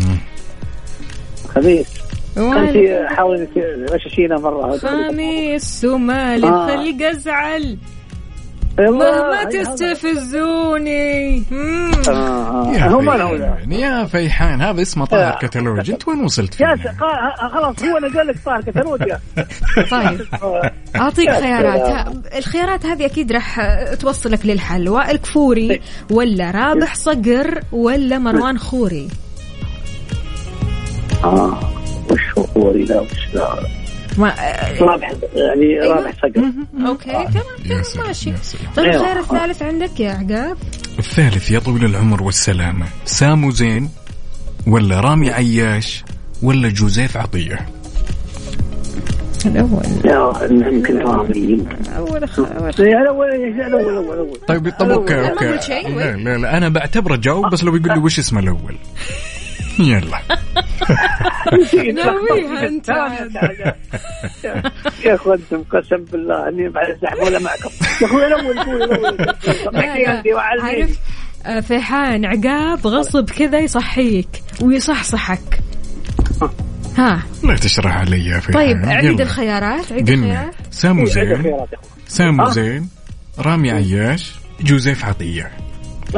Speaker 10: خبيث كان
Speaker 2: وأنا-
Speaker 10: في حاول غششينا مره
Speaker 2: خميس ومالي
Speaker 10: آه.
Speaker 2: خلق ازعل
Speaker 10: يلا،
Speaker 2: مهما
Speaker 10: هاي هذا.
Speaker 2: تستفزوني مم.
Speaker 10: آه،
Speaker 1: يا
Speaker 10: آه. هو ما آه. هو ذا.
Speaker 1: فيحان يا فيحان هذا اسمه طاهر كتالوج انت وين وصلت
Speaker 10: يا
Speaker 1: فيه؟
Speaker 10: س- قا- ه- خلاص هو اللي قال لك طاهر كتالوج يا
Speaker 2: طيب
Speaker 10: آه،
Speaker 2: اعطيك خيارات ها- الخيارات هذه اكيد راح توصلك للحل وائل كفوري ولا رابح صقر ولا مروان خوري
Speaker 10: اه وش هو لا وش لا
Speaker 2: ما...
Speaker 10: رابح يعني
Speaker 2: أيوة.
Speaker 10: رابح صقر
Speaker 2: اوكي تمام
Speaker 1: يا
Speaker 2: تمام
Speaker 1: سلام،
Speaker 2: ماشي
Speaker 1: يا سلام.
Speaker 2: طيب
Speaker 10: أيوة.
Speaker 2: الخيار الثالث عندك يا عقاب
Speaker 1: الثالث يا طويل العمر والسلامة سامو زين ولا رامي عياش ولا جوزيف عطية
Speaker 2: الاول
Speaker 10: لا يمكن رامي يمكن
Speaker 2: اول اول
Speaker 10: يا الاول يا الاول الاول الاول
Speaker 1: طيب طب اوكي
Speaker 2: ما
Speaker 1: اوكي
Speaker 2: قلت شيء،
Speaker 1: لا
Speaker 2: وين؟
Speaker 1: لا لا انا بعتبره جاوب بس لو يقول لي وش اسمه الاول يلا
Speaker 2: نويها انت عاد.
Speaker 10: يا اخوي انتم قسم بالله اني بعد الزحمه معكم يا اخوي الاول قول الاول
Speaker 2: لا،
Speaker 10: صحيح
Speaker 2: لا.
Speaker 10: انت وعلمني
Speaker 2: أيوة. عارف آه، فيحان عقاب غصب كذا يصحيك ويصحصحك ها
Speaker 1: لا تشرح علي يا فيحان
Speaker 2: طيب عيد
Speaker 1: يلا.
Speaker 2: الخيارات عيد
Speaker 1: قلنا
Speaker 2: الخيارات
Speaker 1: سامو زين
Speaker 10: خيارات يا اخوي
Speaker 1: سامو
Speaker 10: آه.
Speaker 1: زين رامي عياش جوزيف عطية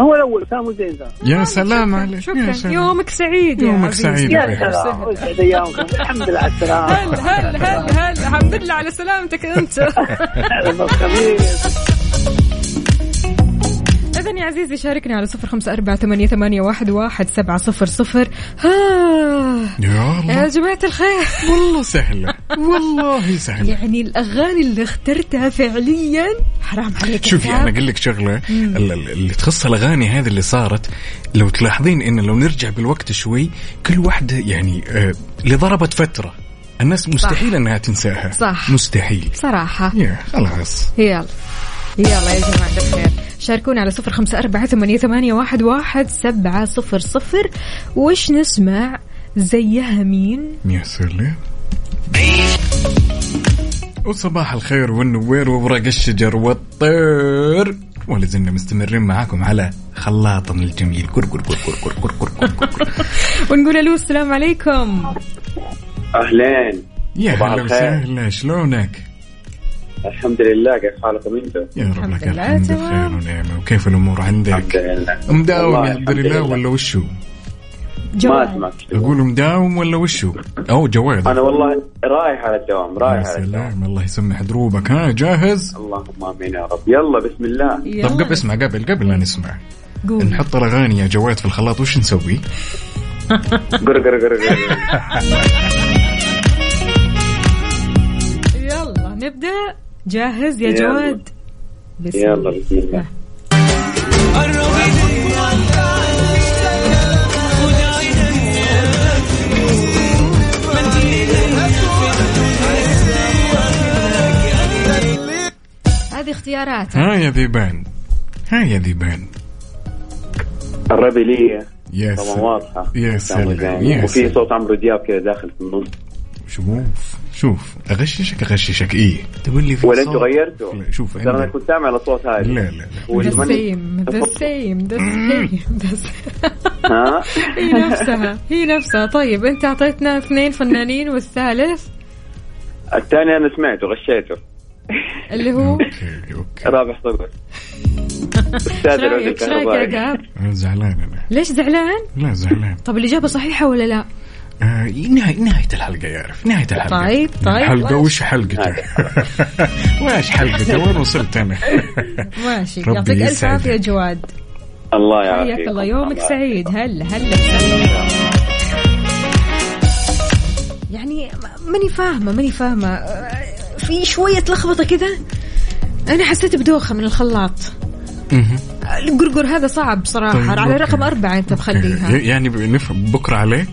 Speaker 10: هو الاول سامو زين ذا
Speaker 2: آه،
Speaker 1: يا سلام عليك يا
Speaker 2: شكرا
Speaker 1: سلام
Speaker 2: يومك سعيد يا
Speaker 1: يومك
Speaker 2: عزيزي.
Speaker 1: سعيد يا
Speaker 10: يا
Speaker 1: فيحان
Speaker 10: سلام وسعد ايامكم الحمد لله على السلامه
Speaker 2: هل هل هل هل الحمد لله على سلامتك انت
Speaker 10: هلا بالخميس.
Speaker 2: اذا يا عزيزي شاركني على صفر خمسه اربعه ثمانيه ثمانيه واحد واحد سبعه صفر صفر ها
Speaker 1: يا
Speaker 2: يا
Speaker 1: الله
Speaker 2: جماعه الخير
Speaker 1: والله سهلة والله سهلة
Speaker 2: يعني الاغاني اللي اخترتها فعليا حرام عليك يا
Speaker 1: شوفي
Speaker 2: عقاب.
Speaker 1: انا اقول لك شغله ال- ال- اللي تخص الاغاني هذه اللي صارت لو تلاحظين ان لو نرجع بالوقت شوي كل واحده يعني آه، اللي ضربت فتره الناس مستحيل انها تنساها
Speaker 2: صح.
Speaker 1: مستحيل
Speaker 2: صراحه
Speaker 1: يا خلاص
Speaker 2: يلا يلا يا جماعة الخير شاركونا على صفر خمسة أربعة ثمانية, ثمانية واحد, واحد سبعة صفر صفر وش نسمع زيها مين
Speaker 1: يا سلام وصباح الخير والنوير وورق الشجر والطير ولازلنا مستمرين معاكم على خلاطنا الجميل كر كر كر كر كر كر كر كر كر.
Speaker 2: ونقول الو السلام عليكم
Speaker 11: اهلين
Speaker 1: يا
Speaker 11: صباح
Speaker 1: هلا
Speaker 11: الخير.
Speaker 1: وسهلا شلونك؟
Speaker 11: الحمد لله كيف حالكم انتم؟
Speaker 1: يا رب لك
Speaker 2: الحمد لله
Speaker 1: الحمد
Speaker 2: تمام.
Speaker 1: بخير ونعمة وكيف الأمور
Speaker 11: الحمد
Speaker 1: عندك
Speaker 11: لله
Speaker 1: مداوم
Speaker 11: والله
Speaker 1: يا عبد الله ولا وشو
Speaker 11: ما
Speaker 2: جوال
Speaker 11: اسمعك
Speaker 1: أقول مداوم ولا وشو أو جوال
Speaker 11: انا والله رايح على الدوام
Speaker 1: يا
Speaker 11: رايح على الدوام
Speaker 1: سلام الله يسمح دروبك ها جاهز
Speaker 11: اللهم امين يا رب يلا بسم الله
Speaker 1: طب قبل نعم.
Speaker 2: يلا
Speaker 1: اسمع قبل قبل لا نسمع
Speaker 2: قول
Speaker 1: نحط الأغاني يا جواد في الخلاط وش نسوي
Speaker 11: قر قر قر قر
Speaker 2: يلا نبدأ جاهز يا
Speaker 11: يلا.
Speaker 2: جواد بسم
Speaker 11: يلا بسم الله
Speaker 2: هذه اختيارات
Speaker 1: ها يا ذيبان ها يا ذيبان
Speaker 11: الربي لي
Speaker 1: يا
Speaker 11: طبعا
Speaker 1: سلام
Speaker 11: واضحه
Speaker 1: يا سلام يا
Speaker 11: وفي
Speaker 1: سلام
Speaker 11: صوت عمرو دياب كذا داخل في النص
Speaker 1: شوف شوف أغششك أغششك إيه تقول لي في
Speaker 11: ولا
Speaker 1: صوت.
Speaker 11: انتوا غيرتوا؟
Speaker 1: شوف
Speaker 11: ترى انا
Speaker 1: عندك-
Speaker 11: كنت سامع الاصوات
Speaker 1: لا
Speaker 11: هذه
Speaker 1: لا لا
Speaker 2: ذا
Speaker 11: والمن-
Speaker 2: سيم ذا سيم ذا سيم ذا
Speaker 11: ها
Speaker 2: هي نفسها هي نفسها طيب انت اعطيتنا اثنين فنانين والثالث
Speaker 11: الثاني انا سمعته غشيته
Speaker 2: اللي هو
Speaker 1: أوكي أوكي
Speaker 11: رابح صقر
Speaker 2: ايش
Speaker 11: استاذ العود
Speaker 2: رايك ايش رايك يا
Speaker 11: الكهربائي
Speaker 2: عقاب؟
Speaker 1: أنا زعلان أنا
Speaker 2: ليش زعلان؟
Speaker 1: لا زعلان
Speaker 2: طب الاجابه صحيحه ولا لا؟
Speaker 1: آه، نهاية نهاية الحلقة يعرف نهاية الحلقة
Speaker 2: طيب، طيب،
Speaker 1: الحلقة
Speaker 2: واش-
Speaker 1: وش حلقته وش حلقته وين وصلت أنا
Speaker 2: ماشي
Speaker 1: ربي
Speaker 2: يعطيك الف
Speaker 1: يسعدك.
Speaker 2: عافيه جواد
Speaker 11: الله يعافيك
Speaker 2: حياك الله يومك سعيد هلا هلا يعني ماني فاهمه ماني فاهمه آه، في شويه لخبطه كذا انا حسيت بدوخه من الخلاط
Speaker 1: مهم.
Speaker 2: آه، القرقر هذا صعب بصراحه
Speaker 1: طيب،
Speaker 2: على
Speaker 1: أوكي.
Speaker 2: رقم أربعة أنت مخليها
Speaker 1: يعني نفهم بكره عليك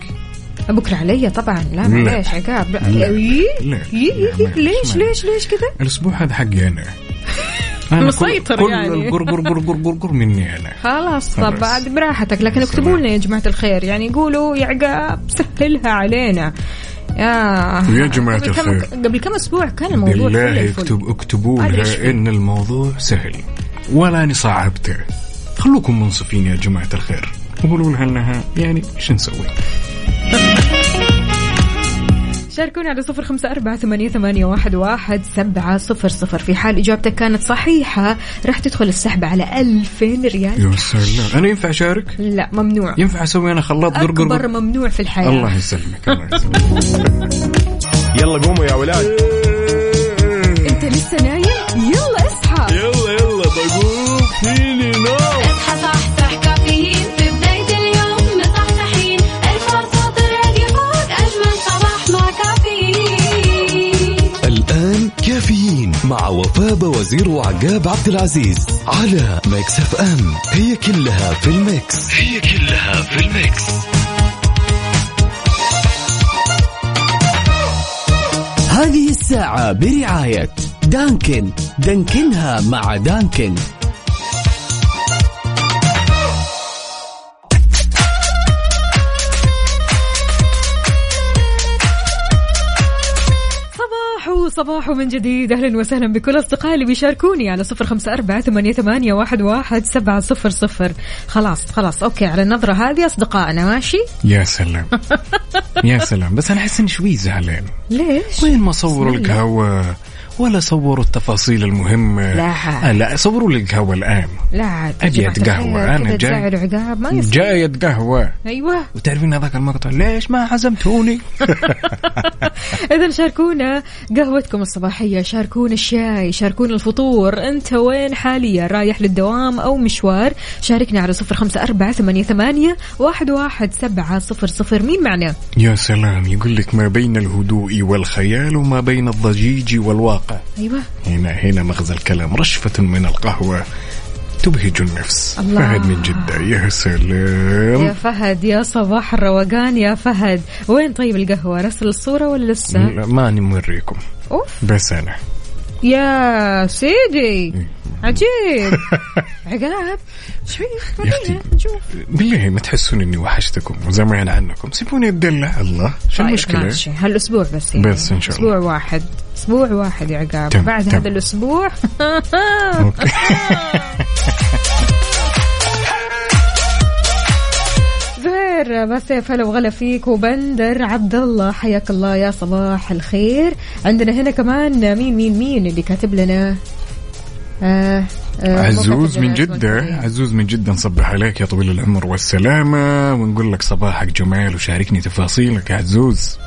Speaker 2: بكرة علي طبعا لا
Speaker 1: لا.
Speaker 2: معليش عقاب لا.
Speaker 1: لا.
Speaker 2: إيه؟
Speaker 1: لا.
Speaker 2: إيه؟ إيه؟
Speaker 1: لا،
Speaker 2: ليش ليش ليش كذا
Speaker 1: الاسبوع هذا حقي انا أنا كل-
Speaker 2: مسيطر
Speaker 1: كل
Speaker 2: يعني.
Speaker 1: القرقر قرقر قرقر مني انا
Speaker 2: خلاص
Speaker 1: خلاص.
Speaker 2: طب بعد براحتك لكن
Speaker 1: خلاص.
Speaker 2: اكتبوا لنا يا جماعة الخير يعني قولوا يا عقاب سهلها علينا يا
Speaker 1: يا جماعة
Speaker 2: قبل كم-
Speaker 1: الخير.
Speaker 2: قبل كم اسبوع كان الموضوع فل
Speaker 1: بالله
Speaker 2: الفل.
Speaker 1: اكتب اكتبوا
Speaker 2: هذا إيش
Speaker 1: لها
Speaker 2: فيه؟
Speaker 1: ان الموضوع سهل ولا اني صعبته خلوكم منصفين يا جماعه الخير وقولوا لها انها يعني ايش نسوي؟
Speaker 2: شاركونا على صفر خمسة أربعة ثمانية, ثمانية واحد, واحد سبعة صفر صفر في حال إجابتك كانت صحيحة راح تدخل السحب على ألفين ريال
Speaker 1: يا سلام انا ينفع اشارك؟
Speaker 2: لا ممنوع
Speaker 1: ينفع اسوي انا خلاط قرقر
Speaker 2: أكبر
Speaker 1: قرقر؟
Speaker 2: ممنوع في الحياة
Speaker 1: الله يسلمك الله يسلمك
Speaker 12: يلا قوموا يا ولاد
Speaker 6: انت لسه نايم يلا اصحى
Speaker 12: يلا يلا بقوم فيني نوم
Speaker 3: اصحى صحصح كافيين في بداية اليوم مصحصحين ارفع صوت الراديو فوق أجمل صباح مع كافيين
Speaker 4: الآن كافيين مع وفاء وزير وعقاب عبد العزيز على ميكس اف ام هي كلها في الميكس هي كلها في الميكس
Speaker 7: هذه الساعة برعاية دانكن دانكنها مع دانكن
Speaker 2: صباحو صباحو من جديد اهلا وسهلا بكل اصدقائي اللي بيشاركوني على صفر خمسه اربعه ثمانيه, ثمانية واحد, واحد سبعه صفر صفر خلاص خلاص اوكي على النظره هذه اصدقائنا ماشي
Speaker 1: يا سلام يا سلام بس انا احس اني شوي زعلان
Speaker 2: ليش
Speaker 1: وين ما صوروا
Speaker 2: بسم الله.
Speaker 1: القهوه ولا صوروا التفاصيل المهمة
Speaker 2: لا.
Speaker 1: آه لا صوروا لي القهوه الان
Speaker 2: لا عاد يا
Speaker 1: أبيض
Speaker 2: جماعة الخير،
Speaker 1: قهوة، أنا
Speaker 2: كذا
Speaker 1: جاي.
Speaker 2: تزعلوا عقاب ما يصير
Speaker 1: جاية قهوة
Speaker 2: ايوه
Speaker 1: وتعرفين هذاك المقطع ليش ما عزمتوني
Speaker 2: اذا شاركونا قهوتكم الصباحيه شاركونا الشاي شاركونا الفطور انت وين حاليا رايح للدوام او مشوار شاركنا على صفر خمسه اربعه ثمانيه, ثمانية واحد, واحد سبعه صفر صفر مين معنا
Speaker 1: يا سلام يقول لك ما بين الهدوء والخيال وما بين الضجيج والواقع
Speaker 2: ايوه
Speaker 1: هنا هنا مغزى الكلام رشفة من القهوة تبهج النفس
Speaker 2: الله.
Speaker 1: فهد من جدة يا سلام
Speaker 2: يا فهد يا صباح الروقان يا فهد وين طيب القهوة رسل الصورة ولا لسه
Speaker 1: لا، ماني موريكم
Speaker 2: أوف
Speaker 1: بس انا
Speaker 2: يا سيدي عجيب عقاب شوي خلينا نشوف
Speaker 1: بالله ما تحسون اني وحشتكم وزمان عنكم سيبوني اتدلع الله شو
Speaker 2: طيب،
Speaker 1: المشكلة
Speaker 2: ماشي هالاسبوع بس يعني.
Speaker 1: بس إن شاء الله.
Speaker 2: اسبوع واحد اسبوع واحد يا عقاب
Speaker 1: تم،
Speaker 2: بعد
Speaker 1: تم.
Speaker 2: هذا الاسبوع زهير بسيف هلا وغلا فيك وبندر عبد الله حياك الله يا صباح الخير عندنا هنا كمان مين مين مين اللي كاتب لنا آه آه، مو
Speaker 1: عزوز
Speaker 2: كاتب
Speaker 1: من
Speaker 2: لنا اسمه
Speaker 1: جدة
Speaker 2: الكريم.
Speaker 1: عزوز من جدة نصبح عليك يا طويل العمر والسلامة ونقول لك صباحك جمال وشاركني تفاصيلك يا عزوز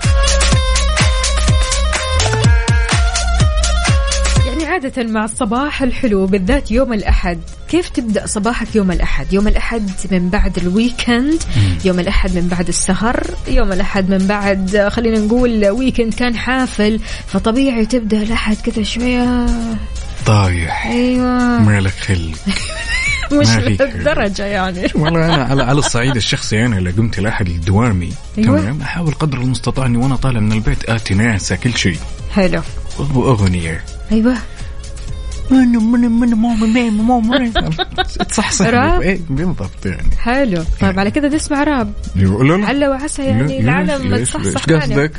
Speaker 2: يعني عادة مع الصباح الحلو بالذات يوم الأحد كيف تبدأ صباحك يوم الأحد يوم الأحد من بعد الويكند يوم الأحد من بعد السهر يوم الأحد من بعد آه، خلينا نقول ويكند كان حافل فطبيعي تبدأ الأحد كذا شوية
Speaker 1: طايح
Speaker 2: أيوة
Speaker 1: مالك خلق
Speaker 2: مش
Speaker 1: ما فيك.
Speaker 2: للدرجة يعني
Speaker 1: والله انا على على الصعيد الشخصي انا اذا قمت لاحد لدوامي
Speaker 2: أيوة.
Speaker 1: تمام احاول قدر المستطاع اني وانا طالع من البيت اتي ناسى كل شيء
Speaker 2: حلو
Speaker 1: واغنيه
Speaker 2: أيوة
Speaker 1: من من من من من تصحصح
Speaker 2: راب.
Speaker 1: إيه، بالضبط يعني
Speaker 2: حلو طيب على كذا تسمع راب
Speaker 1: يقول لا، لا.
Speaker 2: على وعسى
Speaker 1: لا،
Speaker 2: يعني
Speaker 1: ليش-
Speaker 2: العالم ما
Speaker 1: ليش- ليش
Speaker 2: تصحصح معنا
Speaker 1: قصدك؟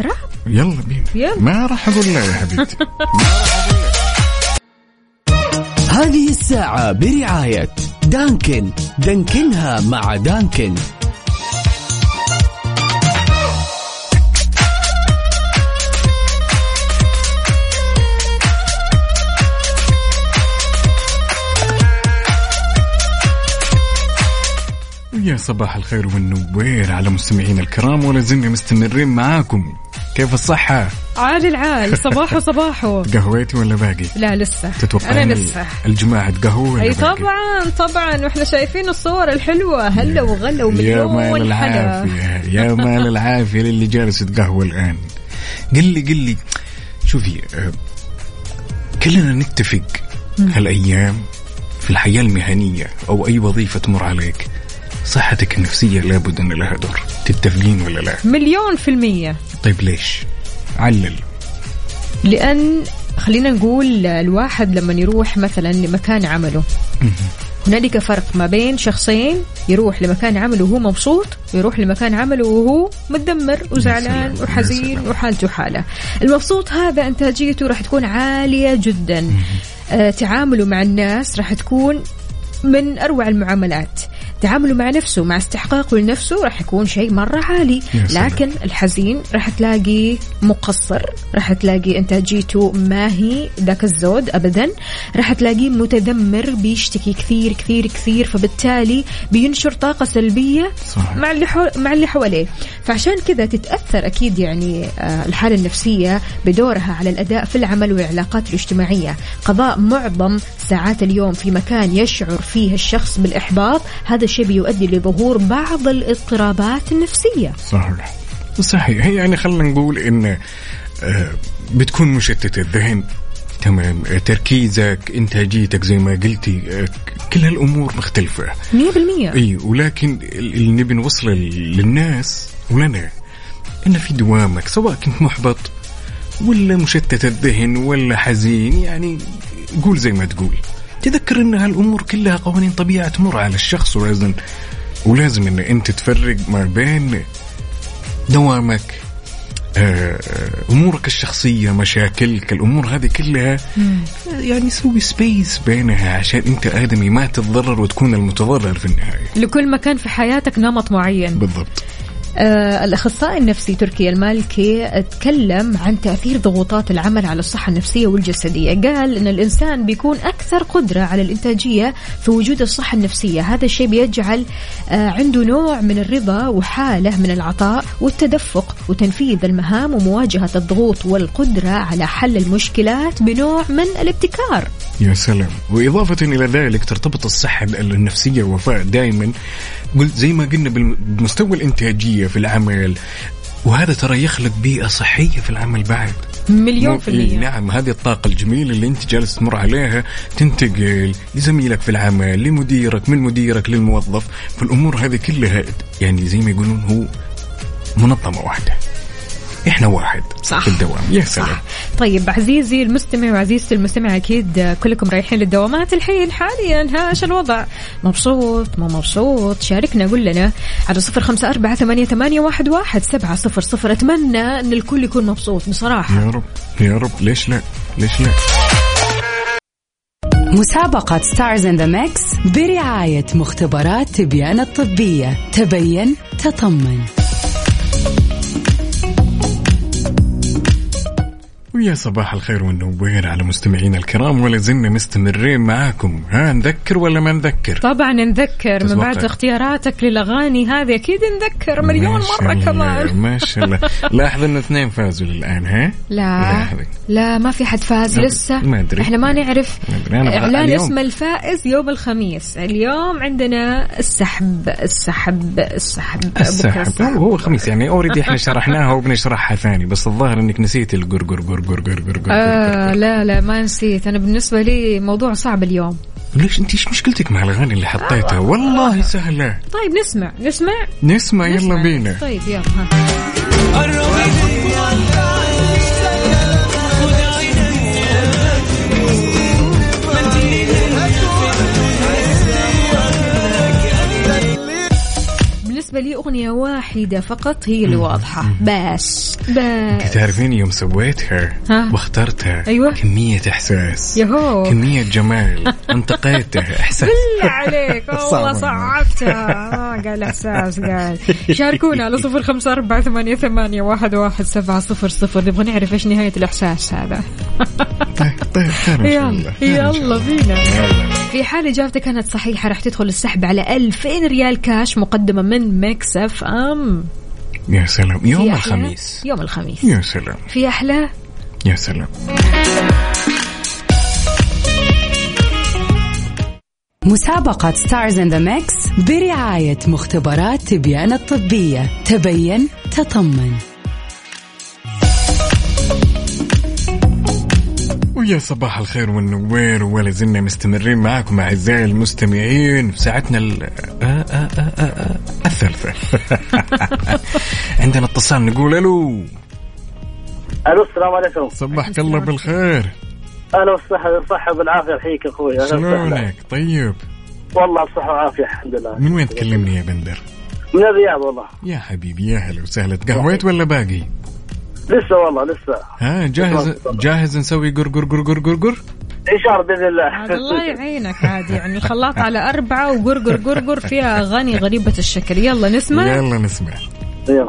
Speaker 2: راب
Speaker 1: يلا بينا
Speaker 2: يلا.
Speaker 1: ما راح اقول لا يا حبيبتي
Speaker 7: هذه الساعة برعاية دانكن دانكنها مع دانكن
Speaker 1: يا صباح الخير والنوير على مستمعينا الكرام ولا زلنا مستمرين معاكم كيف الصحة؟
Speaker 2: عال العال صباحو صباحو
Speaker 1: قهوتي ولا باقي؟
Speaker 2: لا لسه
Speaker 1: تتوقعين
Speaker 2: أنا لسه
Speaker 1: الجماعة قهوة ولا
Speaker 2: اي
Speaker 1: باقي؟
Speaker 2: طبعا طبعا واحنا شايفين الصور الحلوه هلا وغلا
Speaker 1: يا
Speaker 2: ومليون
Speaker 1: مال
Speaker 2: حلا
Speaker 1: العافية يا مال العافية للي جالس يتقهوى الآن قل لي قل لي شوفي آه، كلنا نتفق
Speaker 2: مم.
Speaker 1: هالايام في الحياه المهنيه او اي وظيفه تمر عليك صحتك النفسيه لابد ان لها دور تتفقين ولا لا
Speaker 2: مليون في المية
Speaker 1: طيب ليش علل
Speaker 2: لأن خلينا نقول الواحد لما يروح مثلا لمكان عمله هنالك فرق ما بين شخصين يروح لمكان عمله وهو مبسوط ويروح لمكان عمله وهو متدمر وزعلان
Speaker 1: سلام، يا
Speaker 2: وحزين وحالته حاله المبسوط هذا انتاجيته راح تكون عاليه جدا آه تعامله مع الناس راح تكون من اروع المعاملات تعامله مع نفسه مع استحقاقه لنفسه راح يكون شيء مره عالي
Speaker 1: يا سلام.
Speaker 2: لكن الحزين راح تلاقي مقصر راح تلاقي انتاجيته ما هي ذاك الزود ابدا راح تلاقيه متذمر بيشتكي كثير كثير كثير فبالتالي بينشر طاقه سلبيه
Speaker 1: صحيح.
Speaker 2: مع اللي حو... مع اللي حواليه فعشان كذا تتاثر اكيد يعني آه، الحاله النفسيه بدورها على الاداء في العمل والعلاقات الاجتماعيه قضاء معظم ساعات اليوم في مكان يشعر فيه الشخص بالاحباط هذا الشيء بيؤدي لظهور بعض الاضطرابات النفسيه
Speaker 1: صحيح صحيح هي يعني خلينا نقول ان آه، بتكون مشتت الذهن تمام آه، تركيزك انتاجيتك زي ما قلتي آه، ك- كل هالامور مختلفه
Speaker 2: 100%
Speaker 1: اي ولكن اللي نبي نوصله للناس ولنا ان في دوامك سواء كنت محبط ولا مشتت الذهن ولا حزين يعني قول زي ما تقول تذكر ان هالامور كلها قوانين طبيعه تمر على الشخص ولازم ولازم ان انت تفرق ما بين دوامك آه، آه، امورك الشخصيه مشاكلك الامور هذه كلها يعني سوي سبيس بينها عشان انت ادمي ما تتضرر وتكون المتضرر في النهايه
Speaker 2: لكل مكان في حياتك نمط معين
Speaker 1: بالضبط
Speaker 2: آه، الأخصائي النفسي تركي المالكي تكلم عن تأثير ضغوطات العمل على الصحة النفسية والجسدية قال أن الإنسان بيكون أكثر قدرة على الإنتاجية في وجود الصحة النفسية هذا الشيء بيجعل آه، عنده نوع من الرضا وحالة من العطاء والتدفق وتنفيذ المهام ومواجهة الضغوط والقدرة على حل المشكلات بنوع من الابتكار
Speaker 1: يا سلام وإضافة إلى ذلك ترتبط الصحة النفسية وفاء دائما قلت زي ما قلنا بالم- بمستوى الإنتاجية في العمل وهذا ترى يخلق بيئة صحية في العمل بعد
Speaker 2: مليون
Speaker 1: مو-
Speaker 2: في المية
Speaker 1: إيه، نعم هذه الطاقة الجميلة اللي أنت جالس تمر عليها تنتقل لزميلك في العمل لمديرك من مديرك للموظف فالأمور هذه كلها يعني زي ما يقولون هو منظمة واحدة إحنا واحد
Speaker 2: صح.
Speaker 1: في الدوام يا سلام
Speaker 2: طيب عزيزي المستمع وعزيزتي المستمع اكيد كلكم رايحين للدوامات الحين حاليا ها ايش الوضع مبسوط ما مبسوط شاركنا قول لنا على صفر خمسة أربعة ثمانية, ثمانية واحد, واحد سبعة صفر صفر أتمنى أن الكل يكون مبسوط بصراحة
Speaker 1: يا رب يا رب ليش لا ليش لا
Speaker 6: مسابقة ستارز ان ذا ميكس برعاية مختبرات تبيان الطبية تبين تطمن
Speaker 1: ويا صباح الخير والنوير على مستمعينا الكرام ولا زلنا مستمرين معاكم ها نذكر ولا ما نذكر
Speaker 2: طبعا نذكر من
Speaker 1: تتوقع.
Speaker 2: بعد اختياراتك للأغاني هذه أكيد نذكر مليون
Speaker 1: ما شاء
Speaker 2: مرة
Speaker 1: الله،
Speaker 2: كمان
Speaker 1: ما شاء الله لاحظ ان اثنين فازوا للان ها
Speaker 2: لا
Speaker 1: لاحظي.
Speaker 2: لا ما في حد فاز
Speaker 1: ما-
Speaker 2: لسه
Speaker 1: ما أدري.
Speaker 2: احنا ما نعرف
Speaker 1: ما أدري، أنا أبغى
Speaker 2: اعلان
Speaker 1: اليوم.
Speaker 2: اسم الفائز يوم الخميس اليوم عندنا السحب السحب السحب بكرة
Speaker 1: السحب هو هو الخميس يعني اوريدي احنا شرحناها وبنشرحها ثاني بس الظاهر انك نسيت القرقر قرقر قرقر
Speaker 2: آه
Speaker 1: قرقر
Speaker 2: لا لا ما نسيت انا بالنسبه لي موضوع صعب اليوم
Speaker 1: ليش انت ايش مشكلتك مع الاغاني اللي حطيتها والله سهله
Speaker 2: طيب نسمع نسمع
Speaker 1: نسمع يلا
Speaker 2: نسمع.
Speaker 1: بينا
Speaker 2: طيب يلا ها. بالنسبه لي اغنيه واحده فقط هي اللي واضحه بس
Speaker 1: انت
Speaker 2: بس
Speaker 1: تعرفين يوم سويتها
Speaker 2: ها.
Speaker 1: واخترتها
Speaker 2: أيوة.
Speaker 1: كميه احساس
Speaker 2: يهو
Speaker 1: كمية جمال انتقيته احساس
Speaker 2: بالله عليك والله
Speaker 1: صعبة.
Speaker 2: صعبتها آه، قال احساس قال شاركونا على صفر خمسة أربعة ثمانية, ثمانية واحد, واحد سبعة صفر صفر نبغى نعرف ايش نهاية الإحساس هذا
Speaker 1: طيب طيب خير ان شاء
Speaker 2: يلا
Speaker 1: الله خير إن
Speaker 2: يلا
Speaker 1: شاء الله.
Speaker 2: بينا
Speaker 1: يلا.
Speaker 2: في حال اجابتك كانت صحيحه راح تدخل السحب على 2000 ريال كاش مقدمه من ميكس اف ام
Speaker 1: يا سلام يوم
Speaker 2: في أحلى؟
Speaker 1: الخميس
Speaker 2: يوم الخميس
Speaker 1: يا سلام
Speaker 2: في احلى
Speaker 1: يا سلام
Speaker 6: مسابقة ستارز ان ذا ميكس برعاية مختبرات تبيان الطبية تبين تطمن
Speaker 1: ويا صباح الخير والنوير ولا زلنا مستمرين معاكم اعزائي المستمعين في ساعتنا ال- آه آه آه آه آه الثالثه عندنا اتصال نقول الو
Speaker 13: الو السلام عليكم
Speaker 1: صبحك الله بالخير
Speaker 13: اهلا وسهلا بالصحه والعافيه يحييك اخوي اهلا وسهلا
Speaker 1: شلونك طيب
Speaker 13: والله بصحه وعافيه الحمد لله
Speaker 1: من وين تكلمني يا بندر
Speaker 13: من الرياض والله
Speaker 1: يا حبيبي يا هلا وسهلا تقهويت ولا باقي
Speaker 13: لسه والله لسه
Speaker 1: ها جاهز جاهز نسوي قرقر قرقر قرقر
Speaker 13: ان شاء الله باذن الله
Speaker 2: عاد الله يعينك عاد يعني الخلاط على أربعة وقرقر قرقر فيها أغاني غريبة الشكل يلا نسمع
Speaker 1: يلا نسمع
Speaker 13: يلا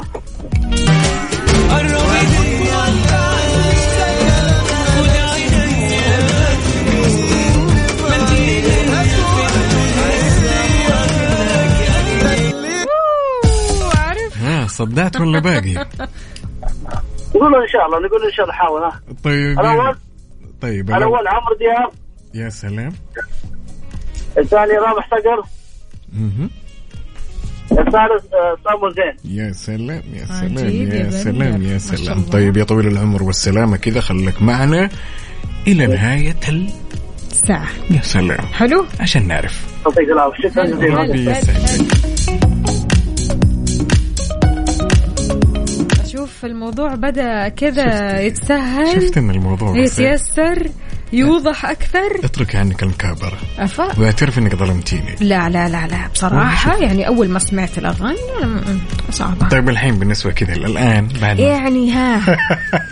Speaker 1: ها صدعت ولا باقي
Speaker 13: نقول له ان شاء الله نقول له ان شاء الله حاول ها
Speaker 1: طيب
Speaker 13: الاول
Speaker 1: طيب
Speaker 13: الاول عمرو دياب
Speaker 1: يا سلام
Speaker 13: الثاني رابح صقر
Speaker 1: مهم.
Speaker 13: الثالث آه، سامو زين
Speaker 1: يا سلام يا سلام
Speaker 13: عجيب يا
Speaker 1: يا
Speaker 13: بندر،
Speaker 1: سلام
Speaker 13: ما
Speaker 1: يا
Speaker 13: شاء
Speaker 1: سلام
Speaker 13: الله.
Speaker 1: طيب يا طويل العمر والسلامة كذا خليك معنا إلى نهاية ال...
Speaker 2: ساعة
Speaker 1: يا سلام
Speaker 2: حلو
Speaker 1: عشان نعرف
Speaker 13: يعطيك العافيه شكرا جزيلا
Speaker 1: ربي يسعدك
Speaker 2: أشوف الموضوع بدأ كذا يتسهل
Speaker 1: شفت إن الموضوع بسيط.
Speaker 2: يتيسر يوضح أكثر
Speaker 1: اترك عنك المكابرة
Speaker 2: أفا
Speaker 1: واعترف إنك ظلمتيني
Speaker 2: لا لا لا لا بصراحة يعني أول ما سمعت الأغاني أنا- م- م- صعبة
Speaker 1: طيب الحين بالنسبة كذا الآن بعد ما-
Speaker 2: يعني ها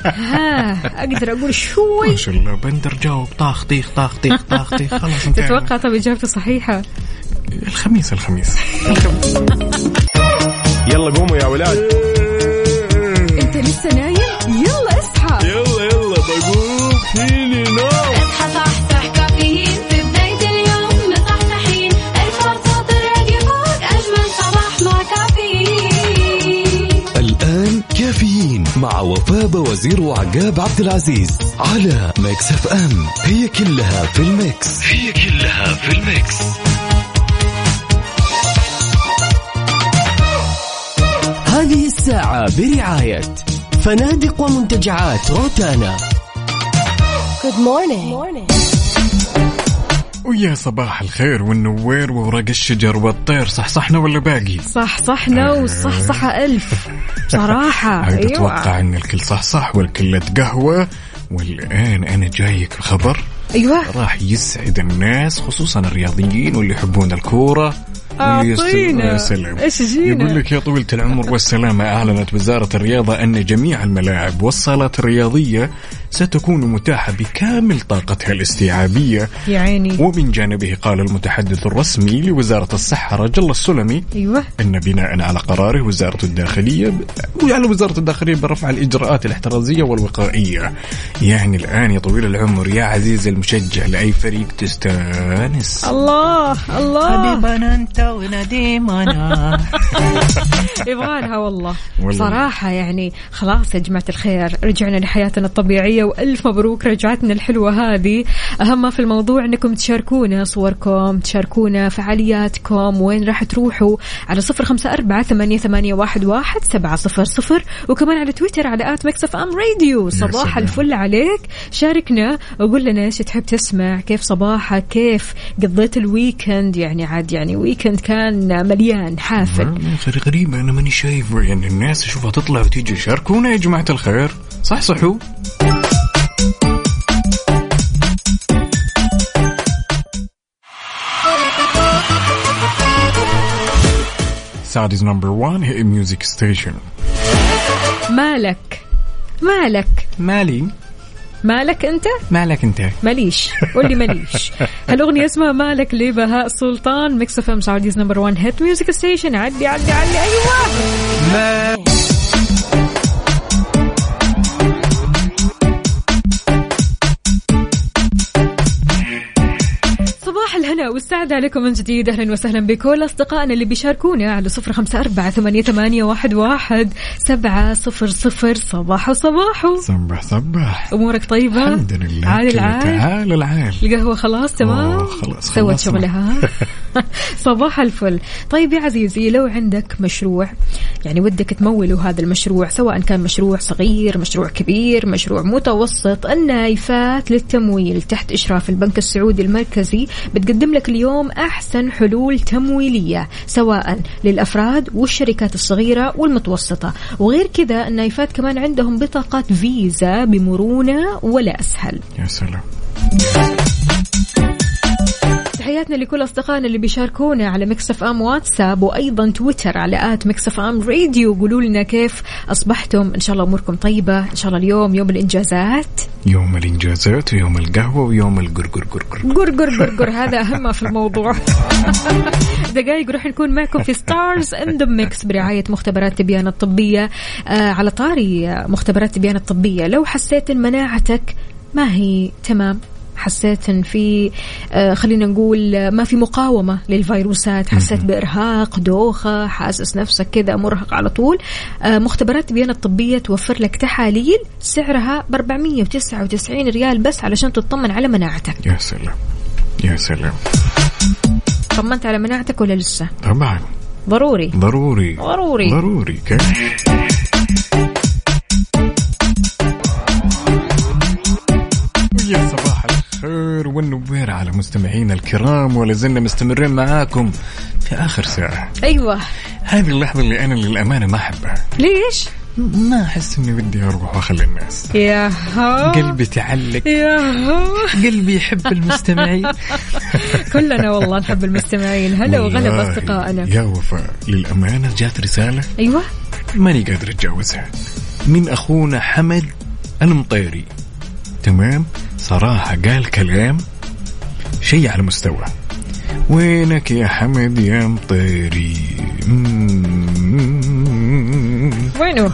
Speaker 2: ها أقدر أقول شوي
Speaker 1: ما شاء الله بندر جاوب طاخ طيخ طاخ طيخ طاخ طيخ خلاص انتهينا.
Speaker 2: تتوقع طب إجابته صحيحة
Speaker 1: الخميس الخميس
Speaker 12: يلا قوموا يا ولاد
Speaker 6: انت لسه نايم يلا اصحى
Speaker 12: يلا يلا بقوم فيني نوم
Speaker 3: اصحى صحصح كافيين في بداية اليوم مصحصحين ارفع صوت الراديو فوق أجمل صباح مع كافيين
Speaker 4: الآن كافيين مع وفاء وزير وعقاب عبد العزيز على ميكس اف ام هي كلها في الميكس هي كلها في الميكس
Speaker 7: هذه الساعة برعاية فنادق ومنتجعات روتانا
Speaker 14: Good morning. morning.
Speaker 1: ويا صباح الخير والنوير وورق الشجر والطير صحصحنا ولا باقي؟
Speaker 2: صح صحنا وصحصحة ألف بصراحة
Speaker 1: عاد اتوقع ان الكل صحصح والكل تقهوى والان انا جايك بخبر
Speaker 2: أيوة
Speaker 1: راح يسعد الناس خصوصا الرياضيين واللي يحبون الكوره واللي يست-
Speaker 2: أعطينا.
Speaker 1: يا سلام.
Speaker 2: إيش جينا؟
Speaker 1: يقول لك يا طويلة العمر والسلامة أعلنت وزارة الرياضة أن جميع الملاعب والصالات الرياضية ستكون متاحة بكامل طاقتها الاستيعابية
Speaker 2: يا عيني
Speaker 1: ومن جانبه قال المتحدث الرسمي لوزارة الصحة رجل الله السلمي
Speaker 2: أيوة
Speaker 1: أن بناء على قراره وزارة الداخلية وعلى وزارة الداخلية برفع الإجراءات الاحترازية والوقائية يعني الآن يا طويل العمر يا عزيز المشجع لأي فريق تستانس
Speaker 2: الله الله
Speaker 5: حبيبنا انت ونديم انا
Speaker 2: يبغالها والله
Speaker 1: والله.
Speaker 2: صراحة يعني خلاص يا جماعة الخير رجعنا لحياتنا الطبيعية وألف مبروك رجعتنا الحلوة هذه أهم ما في الموضوع أنكم تشاركونا صوركم تشاركونا فعالياتكم وين راح تروحوا على صفر خمسة أربعة ثمانية, ثمانية واحد, واحد سبعة صفر صفر وكمان على تويتر على آت مكسف أم راديو صباح
Speaker 3: سلام.
Speaker 2: الفل عليك شاركنا وقول لنا ايش تحب تسمع كيف صباحك كيف قضيت الويكند يعني عاد يعني ويكند كان مليان حافل
Speaker 1: غري- غريبة أنا ماني شايف يعني الناس أشوفها تطلع وتيجي شاركونا يا جماعة الخير صح صحو Saudi's number one hit music station.
Speaker 2: مالك مالك
Speaker 1: مالي
Speaker 2: مالك انت
Speaker 1: مالك أنت؟
Speaker 2: ماليش قول لي ماليش هالاغنيه اسمها مالك لبهاء سلطان ميكس اف ام سعوديز نمبر 1 هيت ميوزك ستيشن عدي عدي عدي ايوه صباح الهنا والسعادة عليكم من جديد أهلا وسهلا بكل أصدقائنا اللي بيشاركونا على صفر خمسة أربعة ثمانية, ثمانية واحد, واحد سبعة صفر صفر صباحو صباحو
Speaker 1: صبح صبح
Speaker 2: أمورك طيبة
Speaker 1: الحمد لله
Speaker 2: عال
Speaker 1: كله
Speaker 2: آه، العال
Speaker 1: تعال العال
Speaker 2: القهوة خلاص تمام
Speaker 1: خلاص
Speaker 2: سوت
Speaker 1: خلصنا.
Speaker 2: شغلها صباح الفل طيب يا عزيزي لو عندك مشروع يعني ودك تموله هذا المشروع سواء كان مشروع صغير مشروع كبير مشروع متوسط النايفات للتمويل تحت إشراف البنك السعودي المركزي بتقدم لك اليوم أحسن حلول تمويلية سواء للأفراد والشركات الصغيرة والمتوسطة وغير كذا النايفات كمان عندهم بطاقات فيزا بمرونة ولا أسهل
Speaker 1: يا سلام
Speaker 2: تحياتنا لكل أصدقائنا اللي بيشاركونا على مكسف أم واتساب وأيضا تويتر على آت مكسف أم راديو قولوا لنا كيف أصبحتم إن شاء الله أموركم طيبة إن شاء الله اليوم يوم الإنجازات
Speaker 1: يوم الانجازات ويوم القهوه ويوم القرقر قرقر
Speaker 2: قر قر قر قر هذا أهم في الموضوع دقائق راح نكون معكم في ستارز ان ذا ميكس برعاية مختبرات تبيان الطبية آه على طاري مختبرات تبيان الطبية لو حسيت إن مناعتك ما هي تمام حسيت ان في آه، خلينا نقول آه، ما في مقاومه للفيروسات حسيت بارهاق دوخه حاسس نفسك كذا مرهق على طول آه، مختبرات بيان الطبيه توفر لك تحاليل سعرها ب 499 ريال بس علشان تطمن على مناعتك
Speaker 1: يا سلام يا سلام
Speaker 2: طمنت على مناعتك ولا لسه
Speaker 1: طبعا
Speaker 2: ضروري
Speaker 1: ضروري
Speaker 2: ضروري.
Speaker 1: ضروري كيف يا صباح الخير والنوير على مستمعينا الكرام ولا زلنا مستمرين معاكم في اخر ساعه
Speaker 2: ايوه
Speaker 1: هذه اللحظه اللي انا للامانه ما احبها
Speaker 2: ليش
Speaker 1: ما احس اني بدي اروح واخلي الناس
Speaker 2: يا
Speaker 1: قلبي تعلق
Speaker 2: يا
Speaker 1: قلبي يحب المستمعين
Speaker 2: كلنا والله نحب المستمعين هلا وغلا
Speaker 1: والله
Speaker 2: باصدقائنا
Speaker 1: يا وفاء للامانه جات رساله
Speaker 2: ايوه
Speaker 1: ماني قادر اتجاوزها من اخونا حمد المطيري تمام صراحه قال كلام شيء على مستوى وينك يا حمد يا مطيري مم.
Speaker 2: وينه؟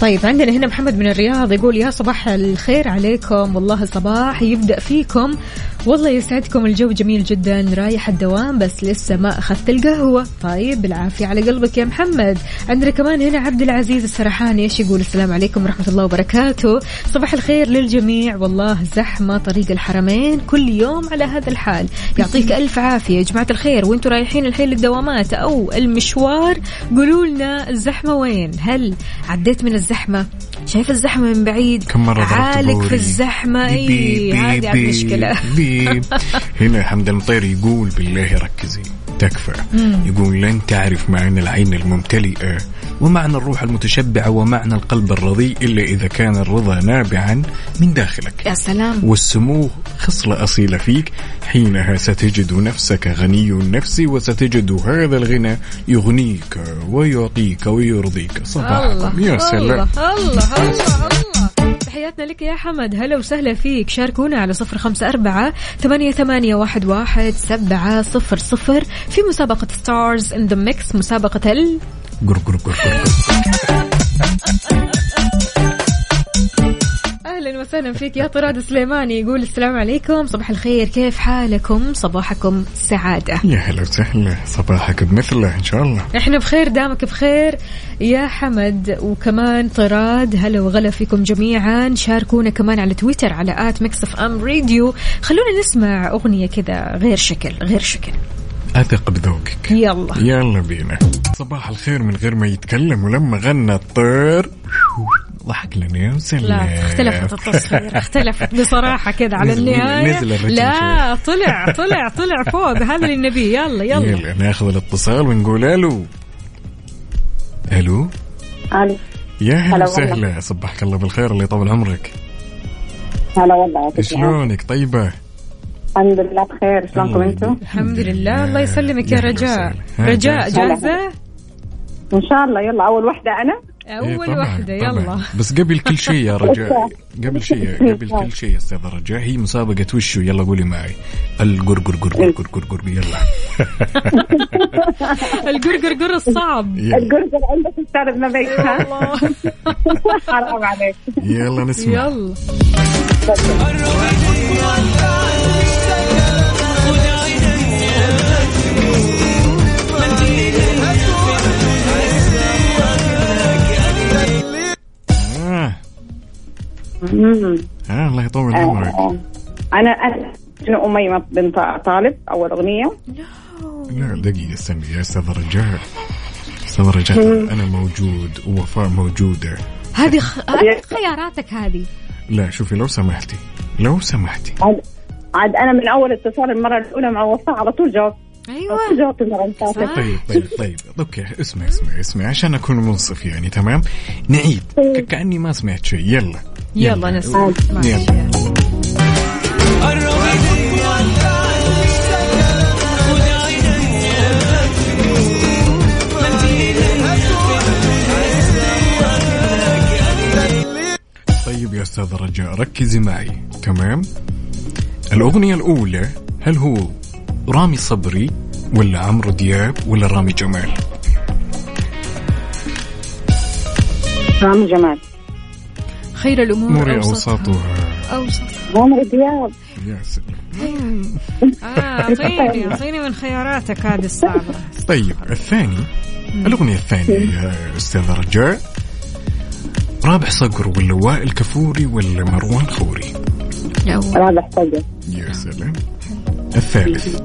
Speaker 2: طيب عندنا هنا محمد من الرياض يقول يا صباح الخير عليكم والله صباح يبدأ فيكم والله يسعدكم الجو جميل جدا رايح الدوام بس لسه ما أخذت القهوة طيب بالعافية على قلبك يا محمد عندنا كمان هنا عبد العزيز السرحاني ايش يقول السلام عليكم ورحمة الله وبركاته صباح الخير للجميع والله زحمة طريق الحرمين كل يوم على هذا الحال يعطيك ألف عافية يا جماعة الخير وانتم رايحين الحين للدوامات أو المشوار قولوا لنا الزحمة وين هل عديت من الزحمة شايف الزحمة من بعيد
Speaker 1: كم مرة ضربت
Speaker 2: عالق في
Speaker 1: بوري.
Speaker 2: الزحمة
Speaker 1: بيب
Speaker 2: اي هذه
Speaker 1: بيب
Speaker 2: المشكلة
Speaker 1: بيب. هنا حمد المطير يقول بالله ركزي تكفى
Speaker 2: مم.
Speaker 1: يقول لن تعرف معنى العين الممتلئة ومعنى الروح المتشبعة ومعنى القلب الرضي إلا إذا كان الرضا نابعا من داخلك
Speaker 2: يا سلام
Speaker 1: والسمو خصلة أصيلة فيك حينها ستجد نفسك غني النفس وستجد هذا الغنى يغنيك ويعطيك ويرضيك صباحكم يا سلام
Speaker 2: الله الله الله الله تحياتنا لك يا حمد هلا وسهلا فيك شاركونا على صفر خمسة أربعة ثمانية, ثمانية واحد, واحد سبعة صفر صفر في مسابقة ستارز ان ذا ميكس مسابقة ال
Speaker 1: قر قر قر قر.
Speaker 2: اهلا وسهلا فيك يا طراد سليماني يقول السلام عليكم صباح الخير كيف حالكم صباحكم سعاده
Speaker 1: يا هلا وسهلا صباحك بمثله إن شاء الله
Speaker 2: احنا بخير دامك بخير يا حمد وكمان طراد هلا وغلا فيكم جميعا شاركونا كمان على تويتر على آت ميكس اف ام راديو خلونا نسمع أغنية كذا غير شكل غير شكل
Speaker 1: أثق بذوقك
Speaker 2: يلا
Speaker 1: يلا بينا صباح الخير من غير ما يتكلم ولما غنى الطير ضحك لنا يا مسلم
Speaker 2: لا اختلفت التصوير اختلفت بصراحة كذا على
Speaker 1: نزل-
Speaker 2: النهاية
Speaker 1: نزل الرتم
Speaker 2: لا طلع طلع طلع فوق هذا اللي نبيه يلا يلا
Speaker 1: يلا ناخذ الاتصال ونقول الو الو
Speaker 9: الو
Speaker 1: يا هلا
Speaker 9: هلا والله.
Speaker 1: وسهلا صبحك الله بالخير الله يطول عمرك
Speaker 9: هلا والله يعطيك العافية.
Speaker 1: شلونك طيبة
Speaker 9: الحمد لله بخير شلونكم
Speaker 1: الله
Speaker 9: انتم؟
Speaker 2: الحمد لله الله يسلمك يا
Speaker 1: يلا
Speaker 2: رجاء
Speaker 1: وسهلا.
Speaker 2: رجاء
Speaker 1: هلا.
Speaker 2: جاهزة
Speaker 9: ان شاء الله يلا اول واحدة انا
Speaker 2: أول
Speaker 1: طبعاً،
Speaker 2: واحدة
Speaker 1: إيه، طبعاً.
Speaker 2: يلا
Speaker 1: بس قبل كل شيء يا رجاء قبل شيء قبل
Speaker 9: طبعاً.
Speaker 1: كل شيء يا استاذ رجاء هي مسابقة وشو يلا قولي معي القرقر قرقر قرقر قرقر يلا
Speaker 2: القرقر قر الصعب
Speaker 1: يلا
Speaker 9: القرقر عندك استاذ ابن بيت ها؟ حرام عليك
Speaker 1: يلا نسمع
Speaker 2: يلا
Speaker 1: آه.
Speaker 9: مم. آه.
Speaker 1: آه الله يطول عمرك
Speaker 9: انا انا شنو اميمه بنت طالب اول اغنيه
Speaker 1: لا دقيقة استني يا استاذ رجاء استاذ رجاء انا موجود ووفاء موجودة
Speaker 2: هذه خ... هذه خياراتك هذه
Speaker 1: لا شوفي لو سمحتي لو سمحتي
Speaker 9: عاد عاد انا من اول اتصال المره الاولى مع وفاء على طول جاوبت
Speaker 2: أيوة.
Speaker 9: ايوه على طول جاوبت المره اللي فاتت
Speaker 1: طيب طيب طيب اوكي اسمعي اسمعي اسمعي عشان اكون منصف يعني تمام نعيد ك- كاني ما سمعت شيء يلا
Speaker 2: يلا نسمع
Speaker 1: يلا طيب يا استاذ رجاء ركزي معي تمام الاغنية الاولى هل هو رامي صبري ولا عمرو دياب ولا رامي جمال
Speaker 9: رامي جمال
Speaker 2: خير الامور
Speaker 1: نوري
Speaker 2: اوسطها
Speaker 1: اوساطها
Speaker 2: اوسطها
Speaker 9: عمرو دياب
Speaker 1: يا سلام
Speaker 15: آه،
Speaker 2: طيب،
Speaker 15: اعطيني اعطيني من خياراتك هذه الصعبه
Speaker 1: طيب الثاني الأغنية الثانية يا أستاذ رجاء رابح صقر ولا وائل كفوري ولا مروان خوري
Speaker 9: رابح صقر
Speaker 1: يا سلام الثالث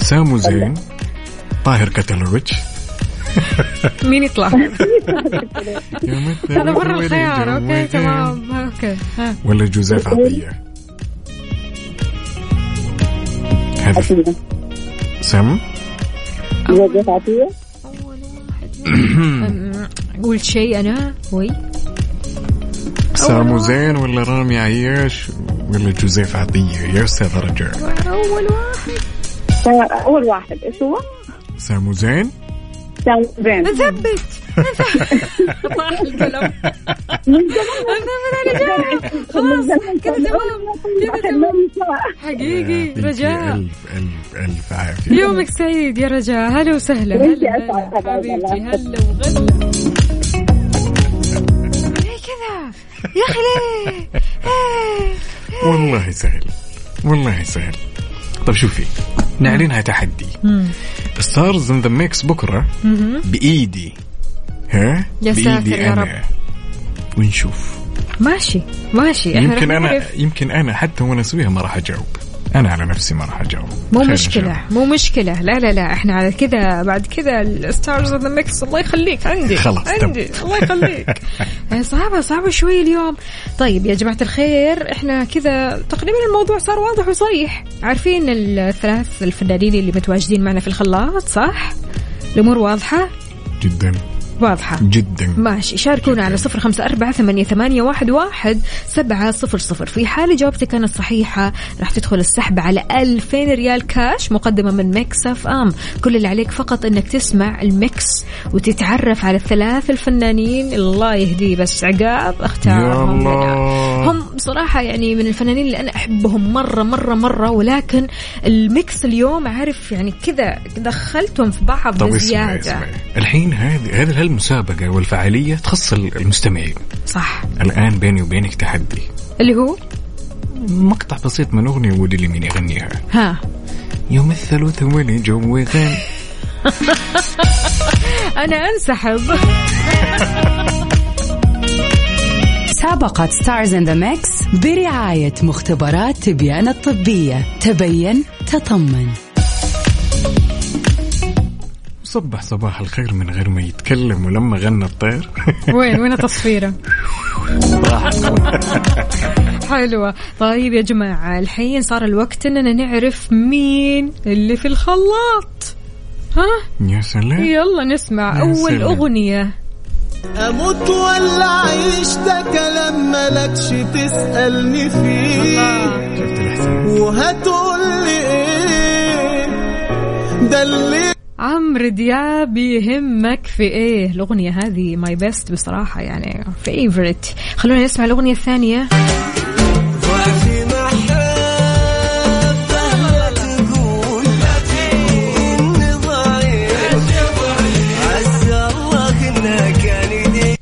Speaker 1: سامو زين طاهر كتلوفيتش
Speaker 2: مين يطلع؟ هذا برا
Speaker 1: وين
Speaker 2: الخيار اوكي
Speaker 1: الجوابين؟
Speaker 2: تمام اوكي ها.
Speaker 1: ولا جوزيف عطية هذا
Speaker 9: عتيبة
Speaker 1: سامو
Speaker 9: زوجة عتيبة
Speaker 2: أم، قلت شيء انا وي
Speaker 1: سامو زين ولا رامي عياش ولا جوزيف عطية يا أستاذ رجاء
Speaker 9: أول واحد أول واحد إيش هو؟
Speaker 1: سامو زين
Speaker 9: سام زين
Speaker 2: نثبت طاح القلم
Speaker 9: من زمان
Speaker 2: نثبت على جواب خلاص كذا تمام كذا تمام حقيقي
Speaker 1: يعطيك
Speaker 2: إيه، رجاء
Speaker 1: ألف ألف ألف عافية
Speaker 2: يومك سعيد يا رجاء هلا وسهلا
Speaker 9: وإنتي
Speaker 2: هلا
Speaker 9: أسعد
Speaker 2: هلا
Speaker 9: أبد
Speaker 2: حبيبتي
Speaker 9: والله.
Speaker 2: هلا وغلا ليه كذا يا اخي ليه إيه.
Speaker 1: والله سهل والله سهل طب شوفي نعلنها تحدي ستارز ان ذا ميكس بكره
Speaker 2: مهم.
Speaker 1: بايدي ها
Speaker 2: يا ساتر
Speaker 1: بايدي
Speaker 2: يا
Speaker 1: انا ونشوف
Speaker 2: ماشي ماشي احنا
Speaker 1: يمكن
Speaker 2: رح
Speaker 1: انا
Speaker 2: نعرف.
Speaker 1: يمكن انا حتى وانا اسويها ما راح اجاوب انا على نفسي ما راح اجاوب
Speaker 2: مو
Speaker 1: خير إن شاء الله.
Speaker 2: مشكلة مو مشكلة لا لا لا احنا على كذا بعد كذا الستارز ذا ميكس الله يخليك عندي
Speaker 1: خلاص، تم.
Speaker 2: عندي الله يخليك آه، صعبة صعبة شوي اليوم طيب يا جماعة الخير احنا كذا تقريبا الموضوع صار واضح وصريح عارفين الثلاث الفنانين اللي متواجدين معنا في الخلاط صح؟ الأمور واضحة؟
Speaker 1: جدا
Speaker 2: واضحة
Speaker 1: جدا
Speaker 2: ماشي شاركونا على صفر خمسة أربعة ثمانية, ثمانية واحد, واحد سبعة صفر صفر في حال جوابتك كانت صحيحة راح تدخل السحب على ألفين ريال كاش مقدمة من ميكس أف أم كل اللي عليك فقط أنك تسمع الميكس وتتعرف على الثلاث الفنانين الله يهديه بس عقاب
Speaker 1: يا
Speaker 2: اختارهم لنا.
Speaker 1: الله.
Speaker 2: هم بصراحة يعني من الفنانين اللي أنا أحبهم مرة مرة مرة ولكن الميكس اليوم عارف يعني كذا دخلتهم في بعض
Speaker 1: طب اسمعي
Speaker 2: بزيادة
Speaker 1: اسمعي الحين هذه هذه المسابقه والفعاليه تخص المستمعين
Speaker 2: صح
Speaker 1: الان بيني وبينك تحدي
Speaker 2: اللي هو
Speaker 1: مقطع بسيط من اغنيه ودي اللي مين يغنيها
Speaker 2: ها
Speaker 1: يوم الثلاثاء ولي جو غير
Speaker 2: انا انسحب
Speaker 6: سابقت ستارز ان ذا ميكس برعاية مختبرات تبيان الطبية تبين تطمن
Speaker 1: صبح صباح الخير من غير ما يتكلم ولما غنى الطير
Speaker 2: وين وين تصفيره حلوة طيب يا جماعة الحين صار الوقت اننا نعرف مين اللي في الخلاط ها
Speaker 1: يا سلام
Speaker 2: يلا نسمع
Speaker 1: يا
Speaker 2: اول
Speaker 1: سلام.
Speaker 2: اغنية
Speaker 12: اموت ولا اعيش ده كلام مالكش تسالني فيه وهتقول لي
Speaker 10: إيه؟
Speaker 12: ايه ده اللي
Speaker 2: عمرو دياب يهمك في ايه الاغنية هذه ماي بيست بصراحة يعني فيفرت خلونا نسمع الاغنية الثانية
Speaker 12: وفي محبة لا تقول إني ضعيف عز الله إنك يعني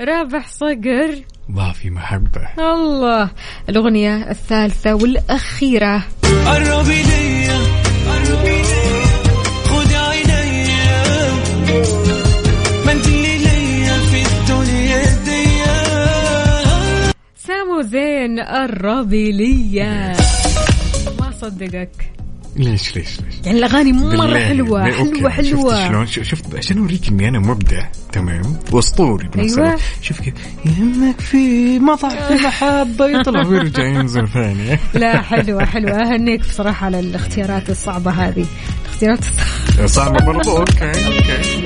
Speaker 2: رابح صقر
Speaker 1: ضعفي محبة
Speaker 2: الله الاغنية الثالثة والاخيرة
Speaker 12: قربي ليا قربي ليا خد عينيا ما انت اللي ليا في الدنيا دي
Speaker 2: سامو زين الربيلية ما صدقك
Speaker 1: ليش ليش ليش
Speaker 2: يعني الاغاني مره
Speaker 1: بالله.
Speaker 2: حلوه
Speaker 1: بي- أوكي.
Speaker 2: حلوه حلوه
Speaker 1: شفت شلون ش- شفت عشان اوريك اني انا مبدع تمام واسطوري بنفس
Speaker 2: أيوة.
Speaker 1: الوقت شوف كيف يهمك في مطعم في محبه يطلع ويرجع ينزل ثاني
Speaker 15: لا حلوة حلوة أهنيك بصراحة على الاختيارات الصعبة هذه الاختيارات الصعبة
Speaker 1: صعبه برضو اوكي اوكي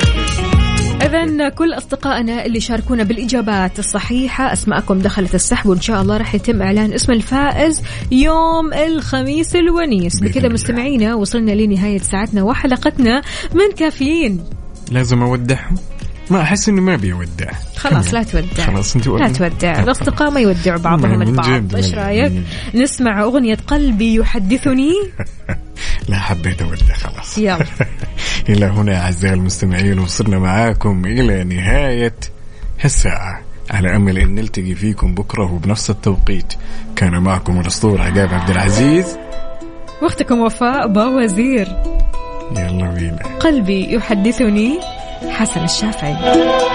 Speaker 2: إذا كل أصدقائنا اللي شاركونا بالإجابات الصحيحة أسماءكم دخلت السحب وإن شاء الله راح يتم إعلان اسم الفائز يوم الخميس الونيس بكذا مستمعينا وصلنا لنهاية ساعتنا وحلقتنا من كافيين
Speaker 1: لازم اودعهم ما احس اني ما ابي اودع
Speaker 2: خلاص لا تودع
Speaker 1: خلاص انت
Speaker 2: لا تودع الأصدقاء ما يودعوا بعضهم
Speaker 1: من
Speaker 2: البعض
Speaker 1: جد،
Speaker 2: إيش
Speaker 1: من-
Speaker 2: رأيك
Speaker 1: من
Speaker 2: نسمع أغنية قلبي يحدثني
Speaker 1: لا حبيت اودع خلاص
Speaker 2: يلا
Speaker 1: إلى هنا أعزائي المستمعين وصلنا معاكم إلى نهاية هالساعة على أمل أن نلتقي فيكم بكرة وبنفس التوقيت كان معكم الأسطورة عقاب عبد العزيز
Speaker 2: واختكم وفاء باوزير
Speaker 1: يلا بينا
Speaker 2: قلبي يحدثني حسن الشافعي